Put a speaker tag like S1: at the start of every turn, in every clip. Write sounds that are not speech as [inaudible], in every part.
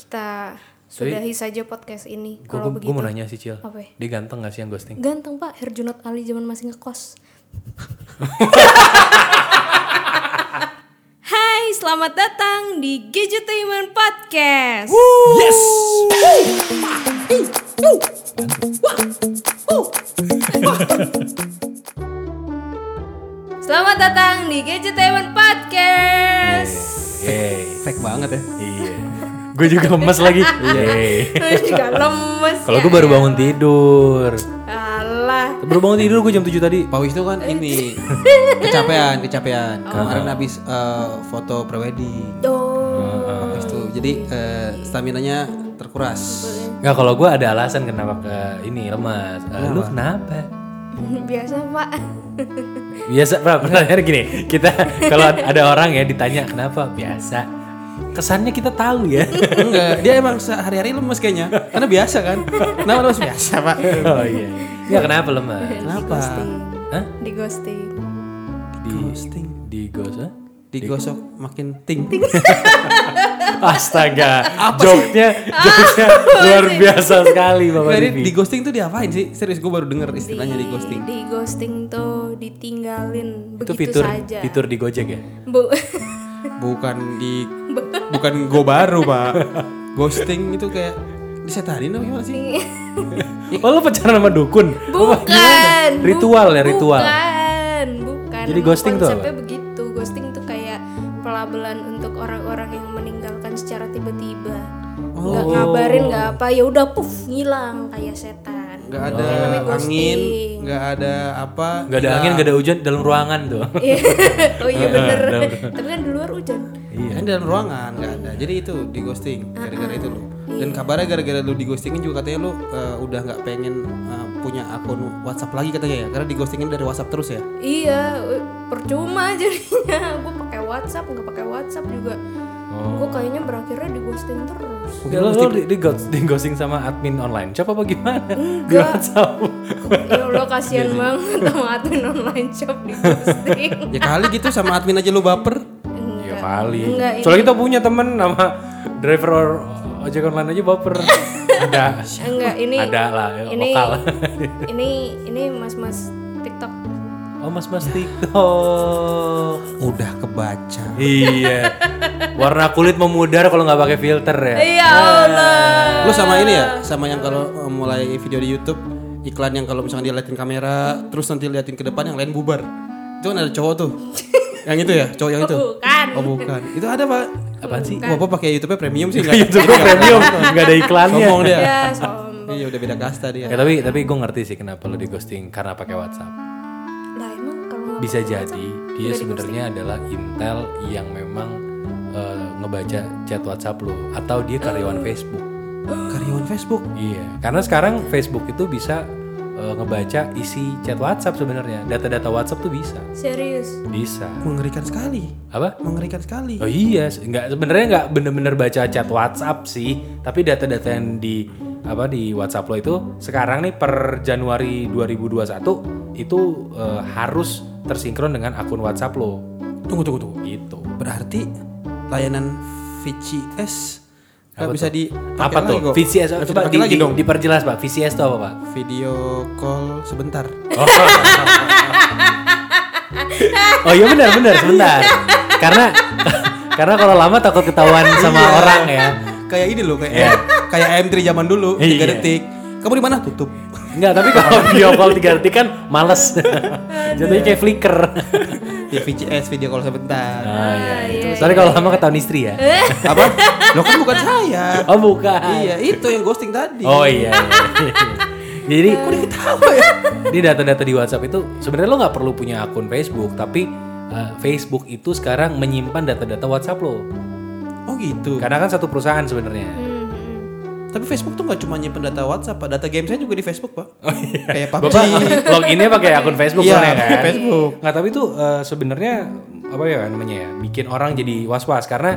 S1: kita
S2: Tapi-
S1: sudahi saja podcast ini
S2: Gue
S1: kalau begitu.
S2: mau nanya sih Cil.
S1: Apa ya?
S2: Dia ganteng gak sih yang
S1: [laughs]
S2: ghosting?
S1: Ganteng Pak Herjunot Ali zaman masih
S2: [laughs]
S1: ngekos. Hai, selamat datang di Gadgetainment Podcast.
S2: Yes.
S1: Selamat datang di Gadgetainment Podcast.
S2: Yeay.
S3: Fake banget ya.
S2: Iya. Gue juga lemes
S1: [laughs]
S2: lagi. Yeay.
S1: Juga lemes.
S2: Kalau
S1: ya.
S2: gue baru bangun tidur.
S1: Alah.
S2: Baru bangun tidur gue jam 7 tadi.
S3: Pak Wisnu kan ini kecapean, kecapean. Kemarin habis eh, foto prewedding.
S2: Ah,
S1: Oh.
S3: Pak Wisnu. Jadi eh, staminanya terkuras.
S2: Nggak kalau gue ada alasan kenapa ke ini lemas. Eh, lu
S1: [laughs]
S2: kenapa?
S1: Biasa, Pak.
S2: Biasa, Pra, pertanyaan gini.
S1: [laughs]
S2: Kita kalau ada orang ya ditanya kenapa biasa. Kesannya kita tahu
S1: [laughs]
S2: ya.
S3: Enggak, dia emang sehari-hari lemes kayaknya. Karena biasa kan. Kenapa lemes biasa, Pak?
S2: oh iya. Nggak kenapa
S1: Iya.
S2: lemas?
S3: Kenapa?
S2: Hah?
S1: Di ghosting.
S2: Di ghosting. Di ghost? Hah?
S3: Digosok makin ting.
S2: Astaga, joknya, [laughs] joknya luar biasa sekali Bapak
S3: Jadi
S2: Divi.
S3: di ghosting tuh diapain sih? Serius gue baru denger istilahnya
S1: Iya.
S3: di ghosting.
S1: Di ghosting tuh ditinggalin
S2: Itu
S1: begitu
S2: fitur
S1: saja.
S2: fitur di Gojek ya?
S1: Bu. [laughs]
S3: Bukan di bukan go baru, Pak. Ghosting itu kayak disetanin apa gimana sih?
S1: Iya.
S2: Oh lu pacaran sama dukun?
S1: Bukan. bu-
S2: Oh, Ritual ya, ritual.
S1: Bukan, bukan.
S2: Jadi
S1: Emang
S2: ghosting tuh
S1: konsepnya begitu. Ghosting tuh kayak pelabelan untuk orang-orang yang meninggalkan secara tiba-tiba. Nggak
S2: Oh.
S1: ngabarin nggak apa, ya udah puff ngilang kayak setan.
S2: [laughs]
S3: Enggak
S1: Itu
S3: ada
S1: namanya
S3: angin,
S1: Oh. ghosting.
S3: enggak ada apa?
S2: Gak ada angin, gak ada hujan dalam ruangan tuh.
S1: Iya. [laughs] oh iya bener. Tapi kan di luar hujan.
S3: Iya. Kan dalam ruangan nggak ada. Jadi itu di ghosting gara-gara itu lu. Dan kabarnya gara-gara lu di ghostingin juga katanya lu eh, udah nggak pengen eh, punya akun WhatsApp lagi katanya ya. Karena di ghostingin dari WhatsApp terus ya.
S1: Iya, eh, percuma [laughs] jadinya. Gue pakai WhatsApp, nggak pakai WhatsApp juga.
S2: Oh.
S1: Gue kayaknya berakhirnya di ghosting terus.
S2: [laughs] Ya, lo, lo di, di, ghost- di ghosting sama admin online. Siapa apa gimana? Di
S1: Enggak.
S2: WhatsApp.
S1: ya lo kasihan banget sama admin online shop di
S2: [laughs]
S1: ghosting.
S3: Ya kali gitu sama admin aja lu baper.
S2: Iya kali.
S1: Enggak, ini-
S2: Soalnya kita punya temen nama driver or- ojek online aja baper. [laughs] ada.
S1: Enggak, ini
S2: Ada lah, ya,
S1: ini,
S2: lokal.
S1: [laughs] ini ini mas-mas TikTok.
S2: Oh mas mas TikTok.
S3: Udah kebaca.
S2: iya. Warna kulit memudar kalau nggak pakai filter ya.
S1: Ya Allah.
S3: Lu sama ini ya, sama yang kalau eh, mulai video di YouTube iklan yang kalau misalnya dia liatin kamera terus nanti liatin ke depan yang lain bubar. Itu kan ada cowok tuh. yang itu ya, cowok yang itu.
S1: Bukan.
S3: Oh bukan. Itu ada, Pak.
S2: Apaan sih?
S3: Bapak pakai YouTube-nya premium sih nggak? ya?
S2: YouTube gua premium, nggak ada iklannya.
S3: Sombong dia.
S1: Ya, sombong.
S3: Iya udah beda kasta dia.
S2: Ya, tapi tapi gue ngerti sih kenapa lo di ghosting karena pakai WhatsApp.
S1: Lah emang kalau
S2: Bisa jadi dia sebenarnya adalah intel yang memang eh, ngebaca chat WhatsApp lo atau dia karyawan Facebook.
S3: Karyawan Facebook.
S2: Iya, karena sekarang Facebook itu bisa eh, ngebaca isi chat WhatsApp sebenarnya. Data-data WhatsApp tuh bisa.
S1: serius.
S2: Bisa.
S3: Mengerikan sekali.
S2: Apa?
S3: Mengerikan sekali.
S2: Oh iya, se- nggak sebenarnya nggak bener-bener baca chat WhatsApp sih, tapi data-data yang di apa di WhatsApp lo itu sekarang nih per Januari 2021 itu eh, harus tersinkron dengan akun WhatsApp lo
S3: Tunggu tunggu tunggu.
S2: gitu.
S3: Berarti layanan VCS nggak bisa di
S2: Apa tuh? VCS
S3: VCS
S2: coba
S3: pakai
S2: di-
S3: lagi
S2: di-
S3: dong.
S2: diperjelas, Pak. VCS itu apa, Pak?
S3: Video call sebentar.
S2: Oh, oh iya benar benar sebentar. Karena [laughs] karena kalau lama takut ketahuan sama
S3: Iya.
S2: orang ya.
S3: Kayak ini loh kayak kayak M3 zaman dulu
S2: Iya.
S3: 3 detik. Kamu di mana? Tutup.
S2: Enggak, tapi
S3: [laughs]
S2: kalau video call tiga detik kan males. Jatuhnya kayak flicker.
S3: Ya VCS video call sebentar.
S2: Ah, iya, itu. Soalnya kalau lama ketahuan istri ya.
S3: Apa? Lo kan bukan saya.
S2: Oh, bukan.
S3: Eh? Iya, itu yang ghosting tadi.
S2: Oh iya.
S3: [laughs]
S2: iya. Jadi
S3: Ketawa ya.
S2: di data-data di WhatsApp itu sebenarnya lo nggak perlu punya akun Facebook, tapi eh, Facebook itu sekarang menyimpan data-data WhatsApp lo.
S3: Oh gitu.
S2: Karena kan satu perusahaan sebenarnya.
S3: Hmm. Tapi Facebook tuh nggak cuma nyimpen data WhatsApp, Pak. data game saya juga di Facebook, Pak. Kayak
S2: Oh,
S3: PUBG.
S2: iya. Bapak loginnya pakai akun Facebook
S3: Iya,
S2: soalnya
S3: pakai
S2: kan?
S3: Facebook.
S2: Nggak, tapi itu eh, sebenarnya apa ya namanya ya, bikin orang jadi was-was karena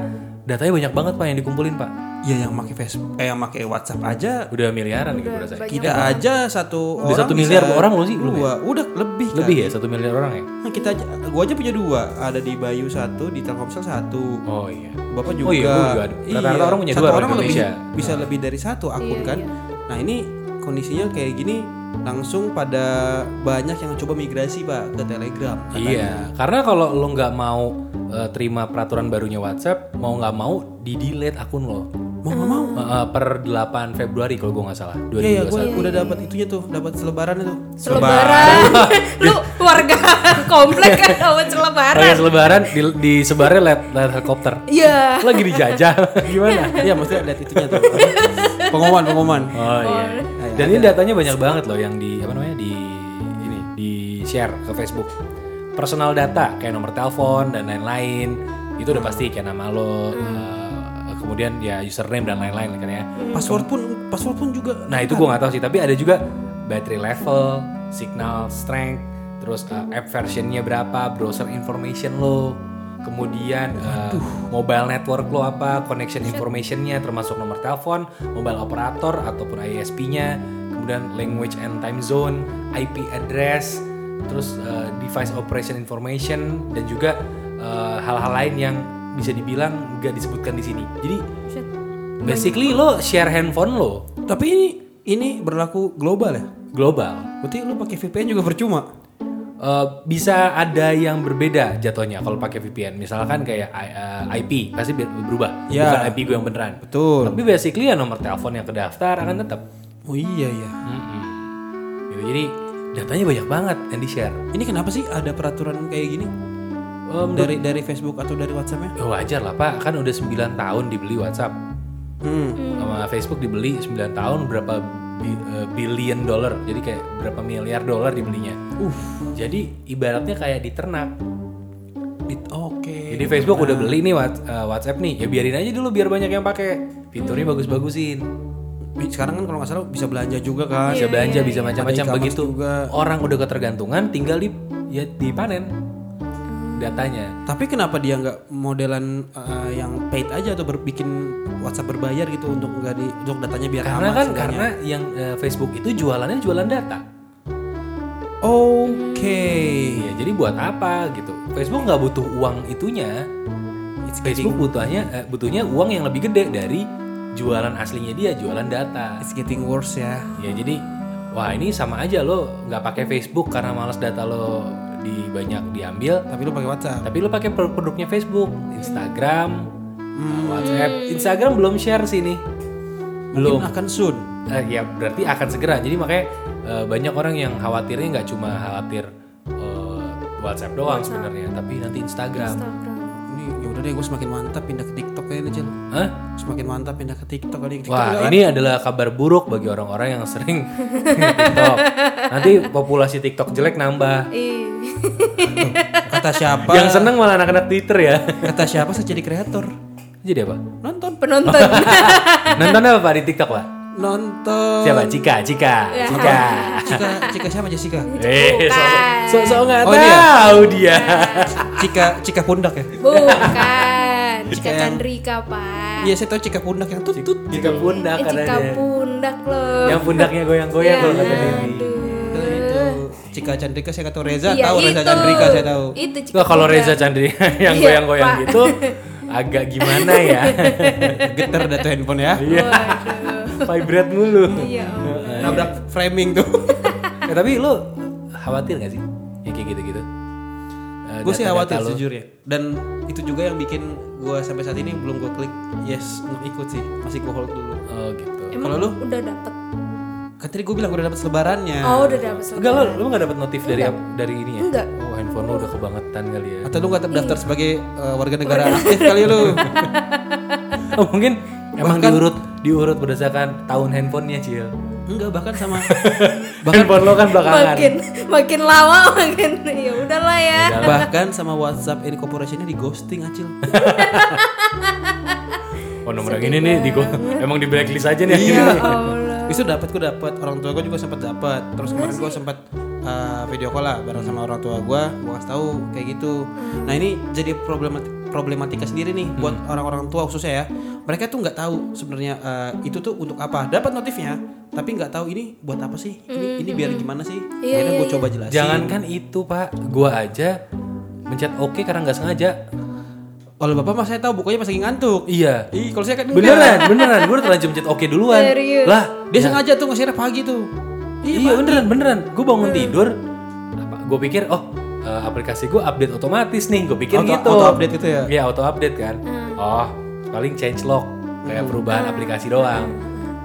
S2: datanya banyak banget Pak yang dikumpulin, Pak.
S3: ya yang pakai Facebook eh yang pakai WhatsApp aja
S2: Udah miliaran gitu berasa.
S1: banyak
S3: kita aja satu
S2: Udah
S3: orang
S2: satu
S3: bisa Iya.
S2: miliar orang belum sih? Belum ya?
S3: dua udah lebih kan?
S2: Lebih ya satu miliar orang ya?
S3: Nah, kita aja gua aja punya dua ada di Bayu satu di Telkomsel satu
S2: Oh iya.
S3: bapak juga
S2: Oh iya, gua juga ada. Rata-rata orang punya
S3: satu
S2: dua orang
S3: orang lebih
S2: Indonesia.
S3: bisa lebih dari satu akun
S1: Iya,
S3: kan
S1: iya.
S3: nah ini kondisinya kayak gini langsung pada banyak yang coba migrasi pak ke Telegram katanya.
S2: Iya, karena kalau lo nggak mau eh, terima peraturan barunya WhatsApp, mau nggak mau di delete akun lo.
S3: mau
S1: Ah.
S3: nggak mau
S2: Eh, eh, per 8 Februari kalau gue nggak salah.
S3: Iya iya
S2: 2021.
S3: gue udah dapat itunya tuh dapat selebaran itu
S1: Selebaran. [laughs] Lu warga [laughs] komplek kan dapat selebaran.
S2: Pas lebaran di, di sebarnya lihat lihat helikopter.
S1: Iya.
S2: Lagi dijajah [laughs] gimana?
S3: Iya maksudnya lihat itunya tuh pengumuman pengumuman
S2: Oh iya. Dan ini datanya banyak banget loh yang di apa namanya di ini di share ke Facebook. Personal data kayak nomor telepon dan lain-lain itu udah pasti kayak nama lo, eh, kemudian ya username dan lain-lain kan ya.
S3: password pun password pun juga
S2: Nah itu gue nggak tahu sih, tapi ada juga battery level, signal strength, terus uh, app versionnya berapa, browser information lo, kemudian uh, mobile network lo apa, connection informationnya termasuk nomor telepon, mobile operator ataupun ISP-nya, kemudian language and time zone, IP address, terus uh, device operation information dan juga uh, hal-hal lain yang bisa dibilang nggak disebutkan di sini. Jadi
S1: Shit.
S2: basically lo share handphone lo
S3: tapi ini ini berlaku global ya
S2: global.
S3: berarti lu pakai VPN juga percuma
S2: Eh, bisa ada yang berbeda jatuhnya kalau pakai VPN. Misalkan kayak I- eh, IP pasti ber- berubah,
S3: Ya.
S2: bukan IP gue yang beneran.
S3: betul
S2: Tapi basically ya nomor telepon yang kedaftar akan tetap.
S3: oh iya iya
S2: Mm-mm. Gitu, jadi datanya banyak banget yang di share.
S3: ini kenapa sih ada peraturan kayak gini dari dari Facebook atau dari WhatsAppnya
S2: wajar lah pak, kan udah 9 tahun dibeli WhatsApp
S3: hmm.
S2: sama Facebook dibeli 9 tahun berapa bi- eh, billion dollar, jadi kayak berapa miliar dolar dibelinya.
S3: Uff.
S2: Jadi ibaratnya kayak diternak.
S3: Dit- oke
S2: Jadi Facebook udah beli nih Whats- eh, WhatsApp nih, ya biarin aja dulu biar banyak yang pakai. Fiturnya bagus-bagusin.
S3: sekarang kan kalau nggak salah bisa belanja juga kan
S2: Bisa belanja, bisa macam-macam
S3: Ada e-commerce
S2: begitu.
S3: juga.
S2: Orang udah ketergantungan, tinggal di ya dipanen datanya.
S3: Tapi kenapa dia nggak modelan eh, yang paid aja atau berbikin WhatsApp berbayar gitu untuk nggak di untuk datanya biar
S2: Karena
S3: aman
S2: kan
S3: seenggaknya?
S2: karena yang eh, Facebook itu jualannya jualan data.
S3: oke
S2: Iya, jadi buat apa gitu? Facebook nggak butuh uang itunya.
S3: It's
S2: Facebook butuhnya eh, butuhnya uang yang lebih gede dari jualan aslinya dia, jualan data.
S3: it's getting worse ya.
S2: Ya jadi wah ini sama aja lo nggak pakai Facebook karena malas data lo di banyak diambil,
S3: Tapi lu pakai WhatsApp.
S2: tapi lo pakai produk- produknya Facebook, Instagram, WhatsApp. Instagram belum share sih nih. Belum.
S3: Mungkin akan soon.
S2: Eh, ya berarti akan segera. Jadi makanya eh, banyak orang yang khawatirnya nggak cuma khawatir eh, WhatsApp doang sebenarnya, tapi nanti Instagram.
S1: Instagram.
S3: Ini ya udah deh gue semakin mantap pindah ke TikTok kayaknya Cil.
S2: Hah?
S3: Semakin mantap pindah ke TikTok kali. TikTok udah
S2: Wah,
S3: kan?
S2: ini adalah kabar buruk bagi orang-orang yang sering TikTok. Nanti populasi TikTok jelek nambah.
S1: Ih.
S3: kata siapa?
S2: Yang seneng malah anak-anak Twitter ya.
S3: kata siapa saya jadi kreator?
S2: Jadi [laughs] apa?
S3: Nonton
S1: Penonton.
S2: [laughs] Nonton apa Pak, di TikTok pak?
S3: nonton.
S2: Siapa? Cika, Cika,
S1: Ya.
S2: Cika.
S3: Cika Cika siapa Jessica?
S2: Eh, so, so, so nggak
S3: Oh, dia?
S2: tahu
S1: [laughs]
S2: dia.
S3: Cika Cika pundak ya.
S1: Bukan. Cika
S3: Yang-
S1: Chandrika, Pak.
S3: Iya saya tahu Cika pundak yang tut tut.
S2: Cika
S3: Iya,
S2: pundak
S1: Eh,
S2: karena
S1: Cika
S2: dia.
S1: pundak loh.
S2: Yang pundaknya goyang-goyang kalau kata Dewi.
S1: Aduh.
S3: Itu Cika Chandrika saya tahu Reza
S1: Iya,
S3: tahu Reza
S1: itu.
S3: Chandrika saya tahu.
S1: Itu Cika
S2: Nggak, kalau
S1: pundak.
S2: Reza Chandri [laughs] yang
S1: Iya,
S2: goyang-goyang
S1: Pak. Iya.
S2: gitu agak
S1: [laughs]
S2: gimana ya?
S3: Geter Eh, dah tuh handphone ya.
S1: Waduh.
S2: Vibrate mulu.
S1: Iya. Allah.
S3: Nabrak framing tuh.
S2: [laughs]
S3: [laughs]
S2: Eh, tapi lu khawatir gak sih? Ya kayak gitu-gitu. Eh,
S3: gue sih
S2: data-data
S3: khawatir
S2: lu.
S3: sejujurnya dan itu juga yang bikin gue sampai saat ini belum gue klik yes untuk ikut sih masih gue hold dulu
S2: Oh gitu.
S1: Emang
S3: Kalau lu?
S1: udah dapet?
S3: kan tadi gue bilang gue udah dapat selebarannya
S1: Oh, udah dapet.
S2: Enggak lo, lo nggak dapat notif dari dari ini ya?
S1: Enggak.
S2: Oh handphone lo udah kebangetan kali ya? [laughs]
S3: atau lu nggak
S1: Iya.
S3: terdaftar sebagai eh, warga negara aktif kali lu
S2: Oh, mungkin emang diurut diurut berdasarkan tahun handphonenya Cil.
S3: enggak bahkan sama
S2: [laughs] Handphone lo kan belakangan.
S1: makin makin lama [laughs] makin ya udahlah ya.
S3: bahkan sama WhatsApp Incorporation-nya di ghosting acil
S2: Oh nomor yang ini nih, di gua- emang di blacklist aja nih.
S1: Ya Allah.
S3: itu dapat gue dapat orang tua gue juga sempat dapat terus kemarin gue sempat uh, video call lah bareng sama orang tua gue gue kasih tahu kayak gitu nah ini jadi problemat problematika sendiri nih buat orang-orang tua khususnya ya mereka tuh nggak tahu sebenarnya eh, itu tuh untuk apa dapat notifnya tapi nggak tahu ini buat apa sih ini, ini biar gimana sih akhirnya gue coba jelasin
S2: Jangankan itu pak, gua aja mencet oke karena nggak sengaja.
S3: kalau bapak mah saya tahu bukunya pas lagi ngantuk
S2: Iya.
S3: Ih, kalau saya kan enggak.
S2: Beneran, beneran. Gue udah terlanjur mencet oke duluan.
S1: Serius?
S2: Lah,
S3: dia sengaja tuh nge-share pagi tuh
S2: iya, beneran, beneran. Gue bangun
S3: Iya.
S2: tidur, apa? Gue pikir, oh eh, aplikasi gue update otomatis nih. Gue pikir
S3: Auto-
S2: gitu.
S3: auto-update gitu ya? Hmm.
S2: Iya, auto update kan. Oh, paling change log kayak perubahan aplikasi doang.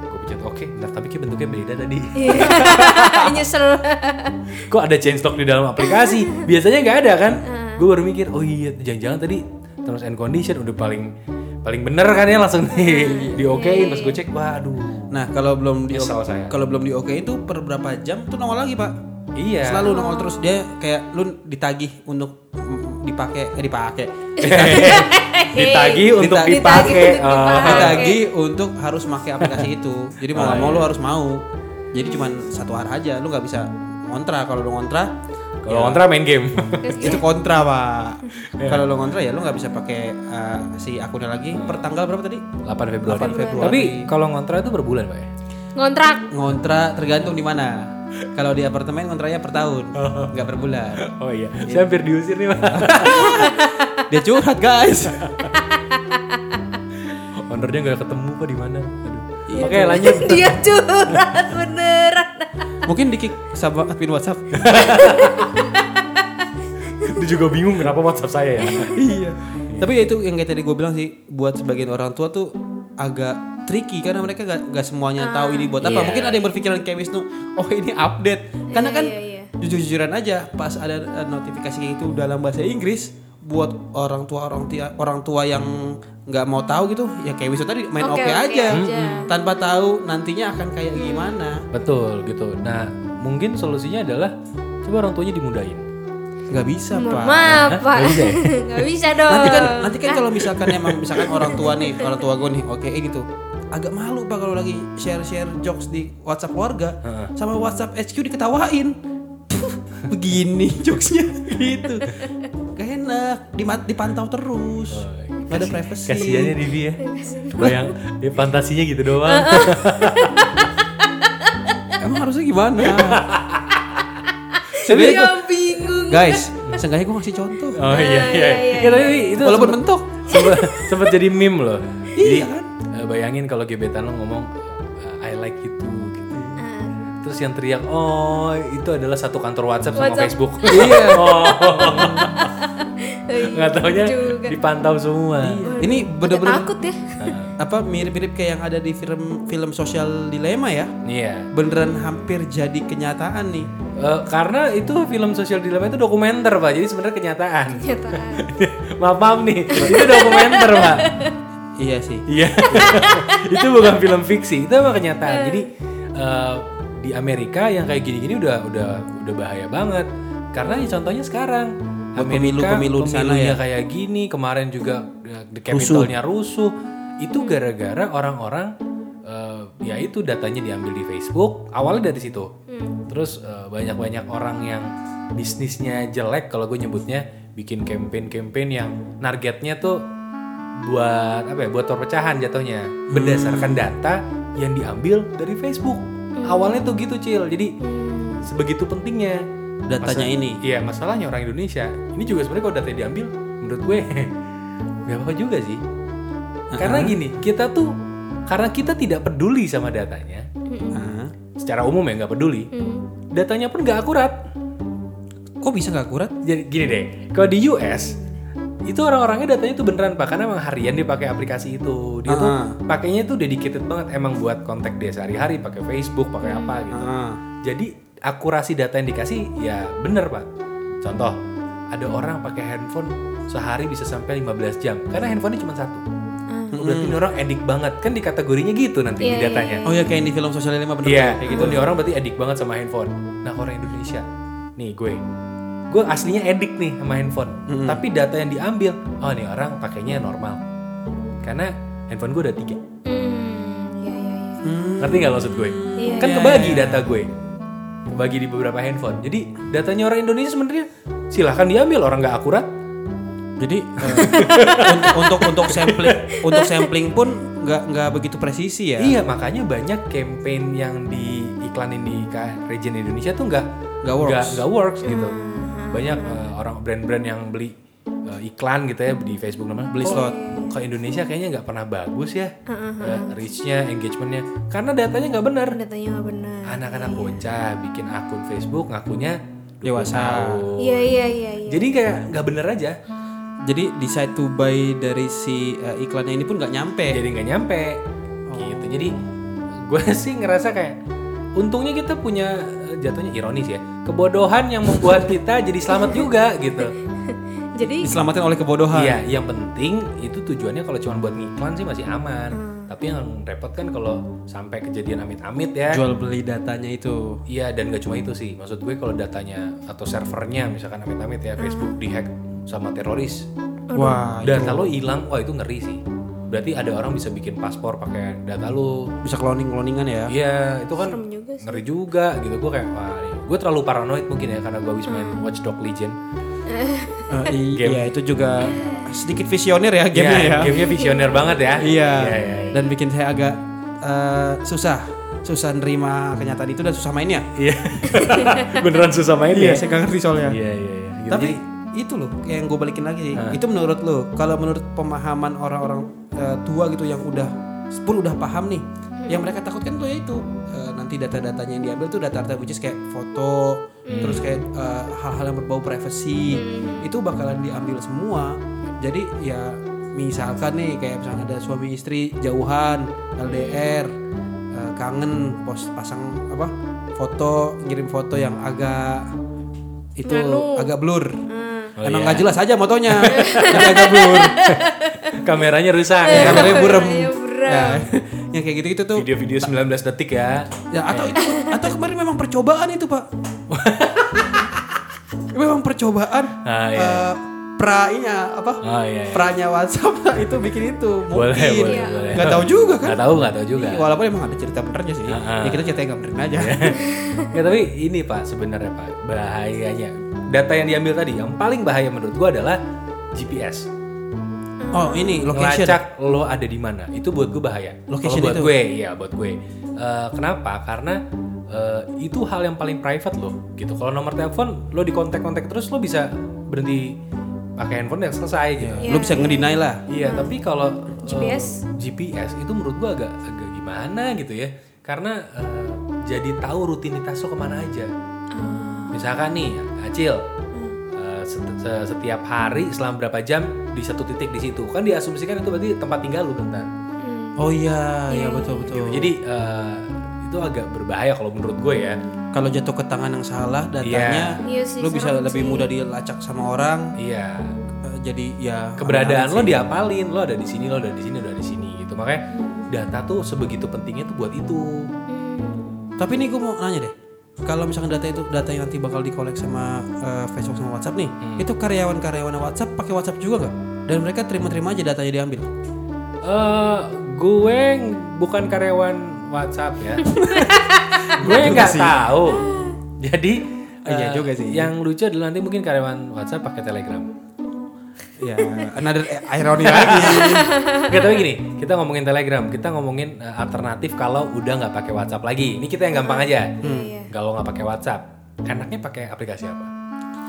S2: Gue pencet oke, bentar, tapi kayak bentuknya beda tadi.
S3: Iya.
S1: [laughs]
S3: [laughs]
S1: Nyesel.
S2: [laughs] Kok ada change log di dalam aplikasi? Biasanya nggak ada kan?
S3: Hmm.
S2: Gue baru mikir, oh iya, jangan-jangan tadi terms and condition udah paling paling bener kan ya langsung di,
S3: Hmm.
S2: di okein pas gue
S3: Iya,
S2: cek wah aduh
S3: nah kalau belum di
S2: Nyesel saya.
S3: kalau belum di oke itu per berapa jam tuh nongol lagi pak
S2: Iya.
S3: selalu nongol terus dia kayak lu ditagih untuk mm, dipakai eh, dipakai
S2: ditagih untuk dipakai.
S3: Ditagih.
S1: Ditagih untuk
S2: Ah.
S1: dipakai.
S3: ditagih untuk harus pakai aplikasi itu
S2: Oh,
S3: jadi mau nggak mau
S2: iya.
S3: lu harus mau jadi cuman satu arah aja lu nggak bisa kontra kalau lu kontra
S2: Kalau kontra main game.
S3: itu kontra
S2: [laughs]
S3: pak
S2: Iya.
S3: kalau lu kontra ya lu nggak bisa pakai eh, si akunnya lagi per tanggal berapa tadi
S2: 8 Februari.
S3: 8 Februari.
S2: Tapi kalau kontra itu per bulan, Pak ya?
S1: Ngontrak.
S3: Ngontra tergantung di mana. Kalau di apartemen kontranya per tahun, nggak per bulan.
S2: Oh iya. Saya hampir diusir nih, Pak.
S3: Dia curhat guys.
S2: [laughs] Ownernya nggak ketemu Pak di
S3: Iya,
S2: mana? Aduh. Oke,
S3: [laughs]
S2: lanjut.
S1: [laughs] Dia curhat beneran.
S3: Mungkin di kick sama admin WhatsApp.
S2: Dia juga bingung kenapa WhatsApp saya ya.
S3: [laughs] iya. Tapi ya itu yang kayak tadi gue bilang sih, buat sebagian orang tua tuh agak tricky karena mereka gak, gak semuanya
S1: Ah.
S3: tahu ini buat apa.
S2: Iya.
S3: Mungkin ada yang berpikiran kayak Wisnu, oh ini update. Karena
S1: Iya,
S3: kan
S1: iya, iya.
S3: jujur-jujuran aja pas ada eh, notifikasi kayak itu dalam bahasa Inggris buat orang tua orang tua orang tua yang nggak mau tahu gitu ya kayak Wisnu tadi main oke
S1: Oke, oke
S3: aja,
S1: aja.
S3: tanpa tahu nantinya akan kayak gimana.
S2: Betul gitu. Nah, mungkin solusinya adalah coba orang tuanya dimudahin.
S3: nggak bisa pak.
S1: Maaf, Pak.
S2: Nggak bisa ya?
S1: [laughs] Nggak bisa dong.
S3: nanti kan nanti kan kalau misalkan emang misalkan orang tua nih orang tua gue nih oke gitu agak malu pak kalau lagi share share jokes di WhatsApp keluarga sama WhatsApp HQ diketawain Puh, begini jokesnya gitu gak enak Dima- dipantau terus nggak ada privacy
S2: Kasiannya Divi
S3: Iya.
S2: ya. Bayang, dia fantasinya gitu doang.
S3: emang harusnya gimana
S1: Dia
S3: Sebenarnya gua-
S1: bingung.
S3: guys seenggaknya gue ngasih contoh
S2: Oh iya
S1: iya,
S2: iya.
S1: iya,
S2: Ya, tapi itu
S3: walaupun mentok
S2: sempat, sempat jadi meme loh.
S3: Iya
S2: Jadi,
S3: kan?
S2: eh, bayangin kalau gebetan lo ngomong eh, I like you too gitu. Terus yang teriak oh itu adalah satu kantor WhatsApp, sama
S1: WhatsApp.
S2: Facebook.
S3: Iya.
S2: [laughs] oh,
S1: Eh,
S2: nggak taunya
S1: juga.
S2: dipantau semua.
S3: ini bener-bener
S1: Takut ya.
S3: [laughs] apa mirip-mirip kayak yang ada di film film sosial dilema ya
S2: Iya.
S3: beneran hampir jadi kenyataan nih.
S2: Eh, karena itu film sosial dilema itu dokumenter pak, jadi sebenarnya kenyataan.
S1: Kenyataan.
S2: [laughs] maaf maaf nih, itu dokumenter pak.
S3: Iya sih.
S2: Iya. [laughs] itu bukan film fiksi, itu emang kenyataan. Jadi eh, di Amerika yang kayak gini-gini udah udah udah bahaya banget. Karena ya contohnya sekarang
S3: Buat pemilu-pemilu di sana
S2: pemilunya
S3: ya.
S2: kayak gini, kemarin juga eh, the capitalnya rusuh. Itu gara-gara orang-orang eh, ya itu datanya diambil di Facebook, awalnya dari situ. Terus eh, banyak-banyak orang yang bisnisnya jelek kalau gue nyebutnya bikin campaign-campaign yang targetnya tuh buat apa ya buat perpecahan jatuhnya berdasarkan data yang diambil dari Facebook awalnya tuh gitu cil jadi sebegitu pentingnya
S3: Datanya ini.
S2: iya masalahnya orang Indonesia ini juga sebenarnya kalau data diambil menurut gue [laughs] nggak apa-apa juga sih karena gini kita tuh karena kita tidak peduli sama datanya
S3: Ah.
S2: secara umum ya nggak peduli
S1: Hmm,
S2: datanya pun nggak akurat
S3: Kok bisa nggak akurat?
S2: jadi gini deh, kalau di US itu orang-orangnya datanya tuh beneran pak karena emang harian dia pakai aplikasi itu dia tuh
S3: Ah.
S2: pakainya tuh dedicated banget emang buat kontak dia sehari-hari pakai Facebook pakai apa gitu jadi akurasi data yang dikasih ya bener pak contoh ada orang pakai handphone sehari bisa sampai 15 jam karena handphonenya cuma satu berarti ini orang edik banget kan di kategorinya gitu nanti di
S1: Ah. Iya, iya,
S2: datanya
S3: Oh ya kayak yang di film sosial lima bener
S2: Iya,
S3: kayak
S2: gitu.
S3: gitu.
S2: Nih orang berarti edik banget sama handphone. Nah orang Indonesia, nih gue, gue aslinya edik nih sama handphone. Tapi data yang diambil, oh nih orang pakainya normal. Karena handphone gue ada tiga.
S1: Hmm, iya, iya, iya.
S2: Ngerti nggak maksud gue?
S1: Iya,
S2: kan kebagi data gue, kebagi di beberapa handphone. Jadi datanya orang Indonesia sebenarnya silahkan diambil orang nggak akurat.
S3: Jadi eh, untuk, untuk untuk sampling untuk sampling pun nggak nggak begitu presisi ya.
S2: Iya makanya banyak campaign yang diiklanin di K- region Indonesia tuh nggak
S3: Nggak works.
S2: nggak- nggak works gitu. Banyak eh, orang brand-brand yang beli eh, iklan gitu ya di Facebook namanya beli slot. Kalau Indonesia kayaknya nggak pernah bagus ya eh, reach-nya, engagement-nya karena datanya nggak benar.
S1: datanya Kan nggak benar
S2: Anak-anak bocah bikin akun Facebook ngakunya
S3: Dewasa.
S2: tahu.
S1: iya iya iya iya
S2: Jadi kayak nggak bener aja.
S3: Jadi decide to buy dari si eh, iklannya ini pun nggak nyampe.
S2: Jadi nggak nyampe gitu. Jadi gue [laughs] sih ngerasa kayak untungnya kita punya eh, jatuhnya ironis ya kebodohan yang membuat kita jadi selamat juga gitu.
S1: jadi
S3: Diselamatkan oleh kebodohan.
S2: Iya, yang penting itu tujuannya kalau cuma buat ngiklan sih masih aman.
S1: Hmm.
S2: Tapi yang repot kan kalau sampai kejadian amit-amit ya.
S3: Jual beli datanya itu.
S2: Iya dan gak cuma itu sih. Maksud gue kalau datanya atau servernya misalkan amit-amit ya Facebook dihack sama teroris,
S3: Wah, iya.
S2: data lo hilang, wah Nah, itu ngeri sih. Berarti ada orang bisa bikin paspor pakai data lo.
S3: bisa cloning cloningan ya.
S2: Iya, itu kan
S1: serem juga sih
S2: ngeri juga gitu. Gue kayak wah, ini- gue terlalu paranoid mungkin ya karena gue habis main
S1: Hmm.
S2: Watch Dogs Legion.
S3: Eh, i- Iya itu juga sedikit visioner ya gamenya
S2: Iya,
S3: ya.
S2: gamenya visioner banget ya.
S3: Iya.
S2: iya, iya.
S3: Dan bikin saya agak eh, susah, susah nerima kenyataan itu dan susah mainnya.
S1: [laughs]
S2: Iya. Beneran susah main ya.
S3: saya gak ngerti soalnya.
S2: Iya, iya, iya. Gitu.
S3: Tapi itu loh yang gue balikin lagi sih. Itu menurut lo, kalau menurut pemahaman orang-orang eh, tua gitu yang udah pun udah paham nih, yang mereka takutkan tuh ya itu eh, nanti data-datanya yang diambil tuh data-data which is kayak foto, terus kayak eh, hal-hal yang berbau privacy itu bakalan diambil semua. Jadi ya misalkan nih kayak misalnya ada suami istri jauhan LDR eh, kangen pos pasang apa foto ngirim foto yang agak itu agak blur
S1: Hmm.
S2: Oh,
S3: Emang
S2: iya.
S3: nggak jelas aja motonya.
S2: [laughs]
S3: Jadi agak blur.
S2: kameranya
S1: Eh.
S2: rusak. ya.
S3: Kameranya burem.
S1: Kameranya Iya, burem.
S3: Ya, [laughs] yang kayak gitu-gitu tuh.
S2: Video-video 19 detik ya.
S3: Ya, atau itu atau kemarin memang percobaan
S2: [laughs]
S3: itu, Pak. memang percobaan.
S2: Ah, iya.
S3: eh, pra-nya apa?
S2: Ah, iya, iya.
S3: Pra-nya WhatsApp [laughs] itu bikin itu. Mungkin.
S2: Boleh, boleh,
S1: Iya.
S2: boleh.
S3: Nggak tahu juga kan.
S2: Gak tahu, gak tahu juga.
S3: Walaupun emang ada cerita benernya sih.
S2: Ah, ah.
S3: Ya kita cerita yang nggak bener aja.
S2: ya tapi ini Pak sebenarnya Pak bahayanya data yang diambil tadi yang paling bahaya menurut gua adalah GPS.
S3: [laughs] oh, ini location.
S2: Ngelacak lo ada di mana itu buat gue bahaya.
S3: Location
S2: Kalau buat
S3: itu.
S2: gue ya buat gue. Eh, kenapa? Karena eh, itu hal yang paling private lo gitu. Kalau nomor telepon lo di kontak-kontak terus lo bisa berhenti pakai handphone yang selesai gitu.
S3: Lu bisa ngedinai lah.
S2: Iya, tapi kalau eh,
S1: GPS?
S2: GPS itu menurut gua agak agak gimana gitu ya. Karena eh, jadi tahu rutinitas lo kemana aja.
S1: eh,
S2: Misalkan nih, Acil eh, set- se- setiap hari selama berapa jam di satu titik di situ. Kan diasumsikan itu berarti tempat tinggal lu bentar.
S3: Oh iya, iya betul betul.
S2: Jadi eh, itu agak berbahaya kalau menurut gue ya.
S3: kalau jatuh ke tangan yang salah datanya
S1: Iya. Iya sih,
S3: lu bisa
S1: serem
S3: lebih
S1: sih.
S3: mudah dilacak sama orang
S2: Iya.
S3: eh, jadi ya
S2: keberadaan lo diapalin lo ada di sini lo ada di sini lo ada di sini gitu makanya data tuh sebegitu pentingnya tuh buat itu
S1: mm,
S3: tapi nih gue mau nanya deh kalau misalkan data itu data yang nanti bakal dikolek sama eh, Facebook sama WhatsApp nih itu karyawan-karyawan WhatsApp pakai WhatsApp juga nggak dan mereka terima-terima aja datanya diambil
S2: eh gue ng- bukan karyawan WhatsApp
S3: [laughs]
S2: ya. gue
S3: Iya Juga
S2: nggak
S3: sih.
S2: tahu. Jadi
S3: Oh, iya
S2: eh,
S3: juga sih.
S2: Yang lucu adalah nanti mungkin karyawan WhatsApp pakai Telegram.
S3: ya another ironi lagi
S2: Gak tapi gini, kita ngomongin Telegram, kita ngomongin eh, alternatif kalau udah nggak pakai WhatsApp lagi. Ini kita yang gampang aja.
S3: Hmm.
S2: Kalau nggak pakai WhatsApp, enaknya pakai aplikasi apa?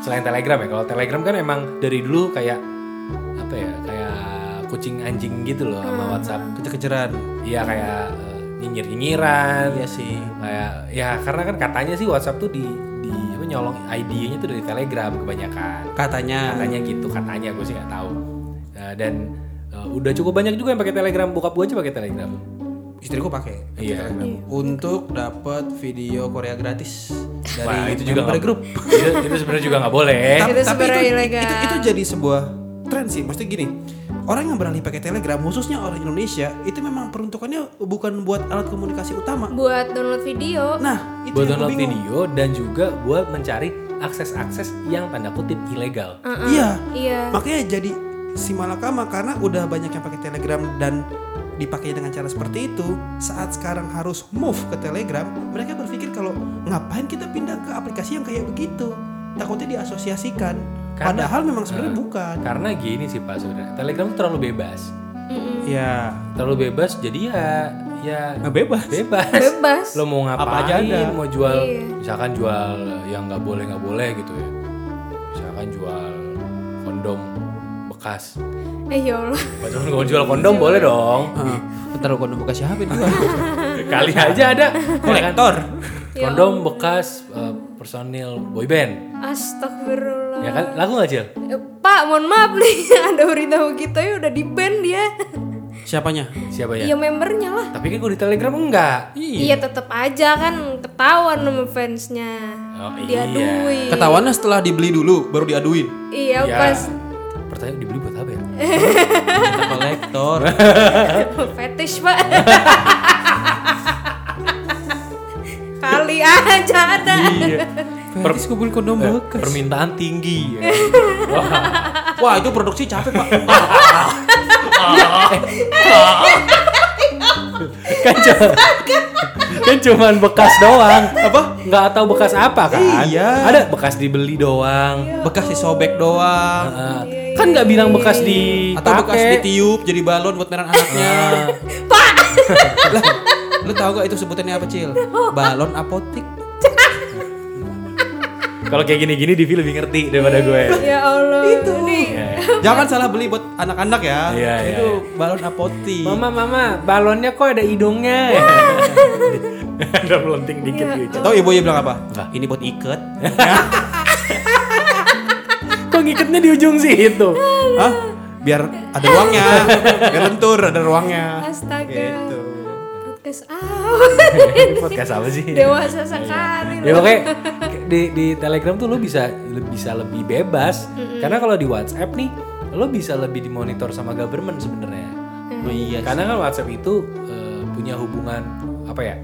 S2: Selain Telegram ya. Kalau Telegram kan emang dari dulu kayak apa ya? Kayak kucing anjing gitu loh sama WhatsApp.
S3: [laughs] kejar-kejaran
S2: Iya kayak eh, nyinyir-nyinyiran.
S3: iya sih
S2: kayak ya karena kan katanya sih WhatsApp tuh di di apa nyolong ID-nya tuh dari Telegram kebanyakan
S3: katanya
S2: katanya gitu katanya gue sih nggak tahu Eh, dan eh, udah cukup banyak juga yang pakai Telegram bokap gue aja pakai Telegram
S3: istri gue pakai
S2: iya
S3: untuk dapat video Korea gratis dari
S2: Wah, itu juga
S3: member
S2: nggak-
S3: grup
S2: itu, Iya, itu sebenarnya juga nggak boleh
S3: Eh, Tapi-
S1: Itu
S3: tapi
S1: sebenarnya
S3: itu,
S1: ilegal.
S3: itu, itu jadi sebuah tren sih. Maksudnya gini, orang yang beralih pakai Telegram, khususnya orang Indonesia, itu memang peruntukannya bukan buat alat komunikasi utama.
S1: buat download video
S3: Nah, itu
S2: buat
S3: yang gue
S2: download
S3: bingung.
S2: video dan juga buat mencari akses-akses yang tanda kutip ilegal
S3: Iya,
S1: iya
S3: makanya jadi si malakama karena udah banyak yang pakai Telegram dan dipakai dengan cara seperti itu saat sekarang harus move ke Telegram mereka berpikir kalau ngapain kita pindah ke aplikasi yang kayak begitu takutnya diasosiasikan
S2: Karena- Ah.
S3: Padahal memang sebenarnya bukan.
S2: Karena gini sih Pak sebenarnya Telegram tuh terlalu bebas.
S1: Hmm.
S3: Ya,
S2: Terlalu bebas jadi ya ya
S3: ngebebas.
S2: bebas.
S1: Bebas.
S2: Lo mau ngapain?
S3: Apa aja ada.
S2: Mau jual
S1: Iya.
S2: misalkan jual yang nggak boleh nggak boleh gitu ya. Misalkan jual kondom bekas.
S1: Eh ya Allah.
S2: Padahal kalau jual kondom boleh dong.
S3: Heeh. Bentar gua nunggu kasih HP dulu.
S2: Kali aja ada
S3: Ah. Kolektor.
S1: Iya.
S2: Kondom bekas eh, personil boyband.
S1: Astagfirullah.
S2: Ya kan? Laku nggak Cil?
S1: Eh, Pak, mohon maaf nih, [laughs] ada berita begitu ya udah di ban dia.
S3: Siapanya?
S2: Siapa ya?
S1: Iya membernya lah.
S2: Tapi kan kalau di Telegram enggak.
S1: Iya tetap aja kan ketahuan sama fansnya.
S2: Oh, iya.
S1: Diaduin.
S3: Ketahuannya setelah dibeli dulu baru diaduin.
S1: Iya
S2: [laughs]
S1: pas
S2: Pertanyaan dibeli buat apa ya?
S3: Kita kolektor.
S1: fetish pak. [laughs] Kali aja ada.
S2: Iya.
S3: Fetis gue beli kondom
S2: Eh,
S3: bekas.
S2: Permintaan tinggi.
S1: [laughs]
S2: ya.
S3: Wah, itu produksi capek, Pak. Ah,
S2: kan cuma kan cuman bekas doang apa nggak tahu bekas apa kan
S3: Iya.
S2: ada bekas dibeli doang
S3: Bekas disobek doang.
S2: Nah, kan nggak bilang bekas di
S3: Atau bekas ditiup jadi balon buat meran anaknya.
S1: [laughs] Pak.
S3: lah, lu tau gak itu sebutannya apa, Cil? Balon apotik.
S2: kalau kayak gini-gini Divi lebih ngerti daripada gue
S1: ya Allah. Itu nih.
S3: Jangan salah beli buat anak-anak ya.
S2: Iya, iya,
S3: itu balon apotik.
S2: mama balonnya kok ada hidungnya [laughs] ada melenting dikit gitu
S3: Tahu ibu ibu bilang apa?
S2: Apa?
S3: Ini buat iket.
S2: kok ngikatnya di ujung sih itu [laughs]
S3: Hah? Biar ada ruangnya. Biar lentur ada ruangnya.
S1: Astaga.
S3: Gitu.
S1: Podcast out.
S2: [laughs] podcast apa sih
S1: Dewasa sekali.
S2: Ya oke di di Telegram tuh lo bisa bisa lebih bebas karena kalau di WhatsApp nih lo bisa lebih dimonitor sama government sebenarnya.
S3: Oh iya.
S2: Karena kan WhatsApp itu eh, punya hubungan apa ya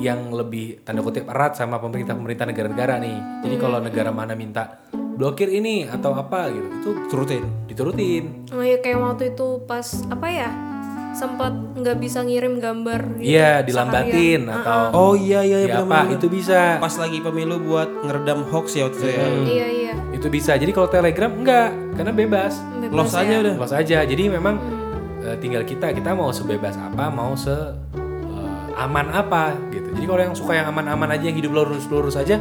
S2: yang lebih tanda kutip erat sama pemerintah-pemerintah negara-negara nih. Jadi kalau negara mana minta blokir ini atau apa gitu itu
S3: Turutin.
S2: diturutin.
S1: Oh iya kayak waktu itu pas apa ya sempat nggak bisa ngirim gambar. gitu
S2: Iya, dilambatin
S1: seharian.
S2: atau
S3: Oh iya iya
S2: ya apa itu bisa.
S3: Pas lagi pemilu buat ngeredam hoax ya waktu itu ya.
S1: Iya
S2: Hmm.
S1: iya.
S2: Itu bisa. Jadi kalau Telegram enggak karena bebas.
S1: Bebas
S3: Los
S1: ya. Hmm.
S3: aja udah.
S2: bebas aja jadi memang eh, tinggal kita kita mau sebebas apa mau se eh, aman apa gitu jadi kalau yang suka yang aman-aman aja yang hidup lo lurus-lurus aja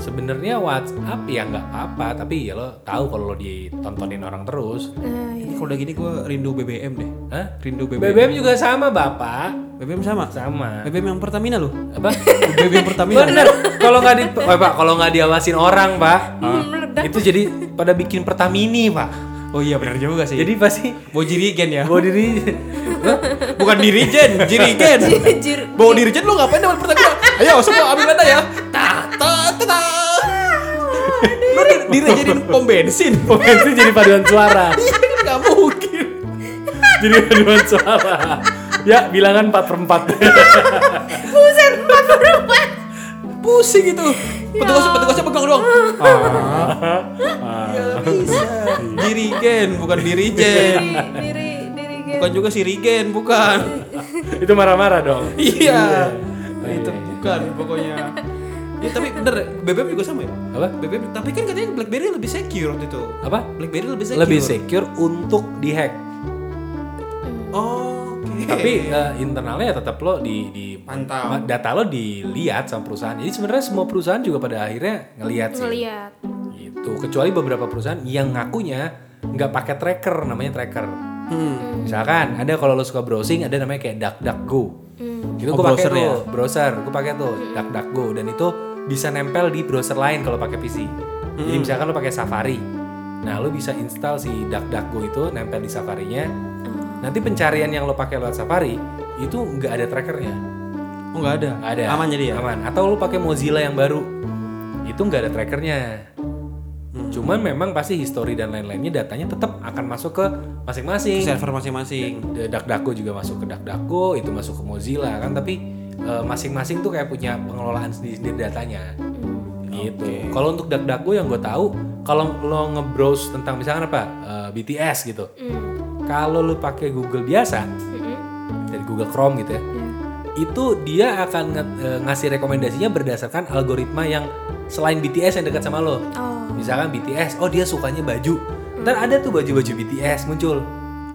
S2: sebenarnya WhatsApp ya nggak apa-apa tapi ya lo tahu kalau lo ditontonin orang terus
S1: Nah, iya.
S3: Ini kalau udah gini gue rindu BBM deh.
S2: Hah?
S3: Rindu BBM.
S2: BBM juga sama bapak
S3: BBM sama.
S2: sama
S3: BBM yang Pertamina loh.
S2: apa
S3: BBM Pertamina.
S2: bener kalau nggak di oh, pak kalau nggak diawasin orang pak
S1: Hmm,
S2: itu jadi pada bikin pertamini pak
S3: Oh iya benar juga sih.
S2: jadi pasti
S3: Bawa dirigen ya.
S2: bawa diri
S3: Bukan dirijen, jirigen.
S1: Jir-
S3: Bawa dirijen lu ngapain dapat Pertamina? Ayo semua ambil data ya. Ta ta ta. ta. Lu di- direjinin pom bensin.
S2: pokoknya itu jadi paduan suara
S3: Gak mungkin.
S2: jadi paduan suara ya bilangan 4 per [laughs] 4
S1: Buset, Pak Purba.
S2: [laughs]
S3: Pusing itu. Petugas petugasnya pegang doang.
S2: Ah.
S3: Gak bisa. Dirigen bukan
S2: Iya.
S3: dirijen.
S1: Diri, diri, diri gitu. guys.
S3: Bukan juga sirigen, bukan.
S2: itu marah-marah dong
S3: Iya. Nah, itu bukan pokoknya. Ya, tapi bener, BBM juga sama ya?
S2: Apa?
S3: BBM, tapi kan katanya BlackBerry lebih secure waktu itu.
S2: apa
S3: BlackBerry lebih secure.
S2: lebih secure untuk dihack
S3: Oh, oke.
S2: tapi eh, internalnya ya tetap lo di, di
S3: Pantau.
S2: ma- data lo dilihat sama perusahaan jadi sebenarnya semua perusahaan juga pada akhirnya ngelihat sih
S1: Ngeliat.
S2: gitu kecuali beberapa perusahaan yang ngakunya nggak pakai tracker namanya tracker
S3: Hmm.
S2: misalkan ada kalau lo suka browsing ada namanya kayak DuckDuckGo itu
S3: Oh,
S2: gue pakai
S3: browser
S2: tuh
S3: ya?
S2: browser gue pakai tuh DuckDuckGo dan itu bisa nempel di browser lain kalau pakai PC
S3: Hmm.
S2: jadi misalkan lo pakai Safari nah lo bisa install si DuckDuckGo itu nempel di Safarinya nanti pencarian yang lo pakai lewat Safari itu nggak ada trackernya
S3: Oh, enggak ada.
S2: Nggak ada
S3: Aman jadi ya?
S2: aman atau lo pakai Mozilla yang baru itu nggak ada trackernya
S3: Hmm.
S2: cuman memang pasti history dan lain-lainnya datanya tetap akan masuk ke masing-masing
S3: Server masing-masing.
S2: eh, Dakdako juga masuk ke Dakdako, itu masuk ke Mozilla kan, tapi eh, masing-masing tuh kayak punya pengelolaan sendiri-sendiri datanya. Gitu. Kalau untuk Dakdako yang gue tahu, kalau lo nge-browse tentang misalkan apa eh, BTS gitu,
S1: Hmm.
S2: kalau lo pakai Google biasa
S1: Mm-mm.
S2: dari Google Chrome gitu ya, itu dia akan nge- eh, ngasih rekomendasinya berdasarkan algoritma yang selain BTS yang dekat sama lo.
S1: Oh.
S2: misalkan BTS oh dia sukanya baju ntar ada tuh baju-baju BTS muncul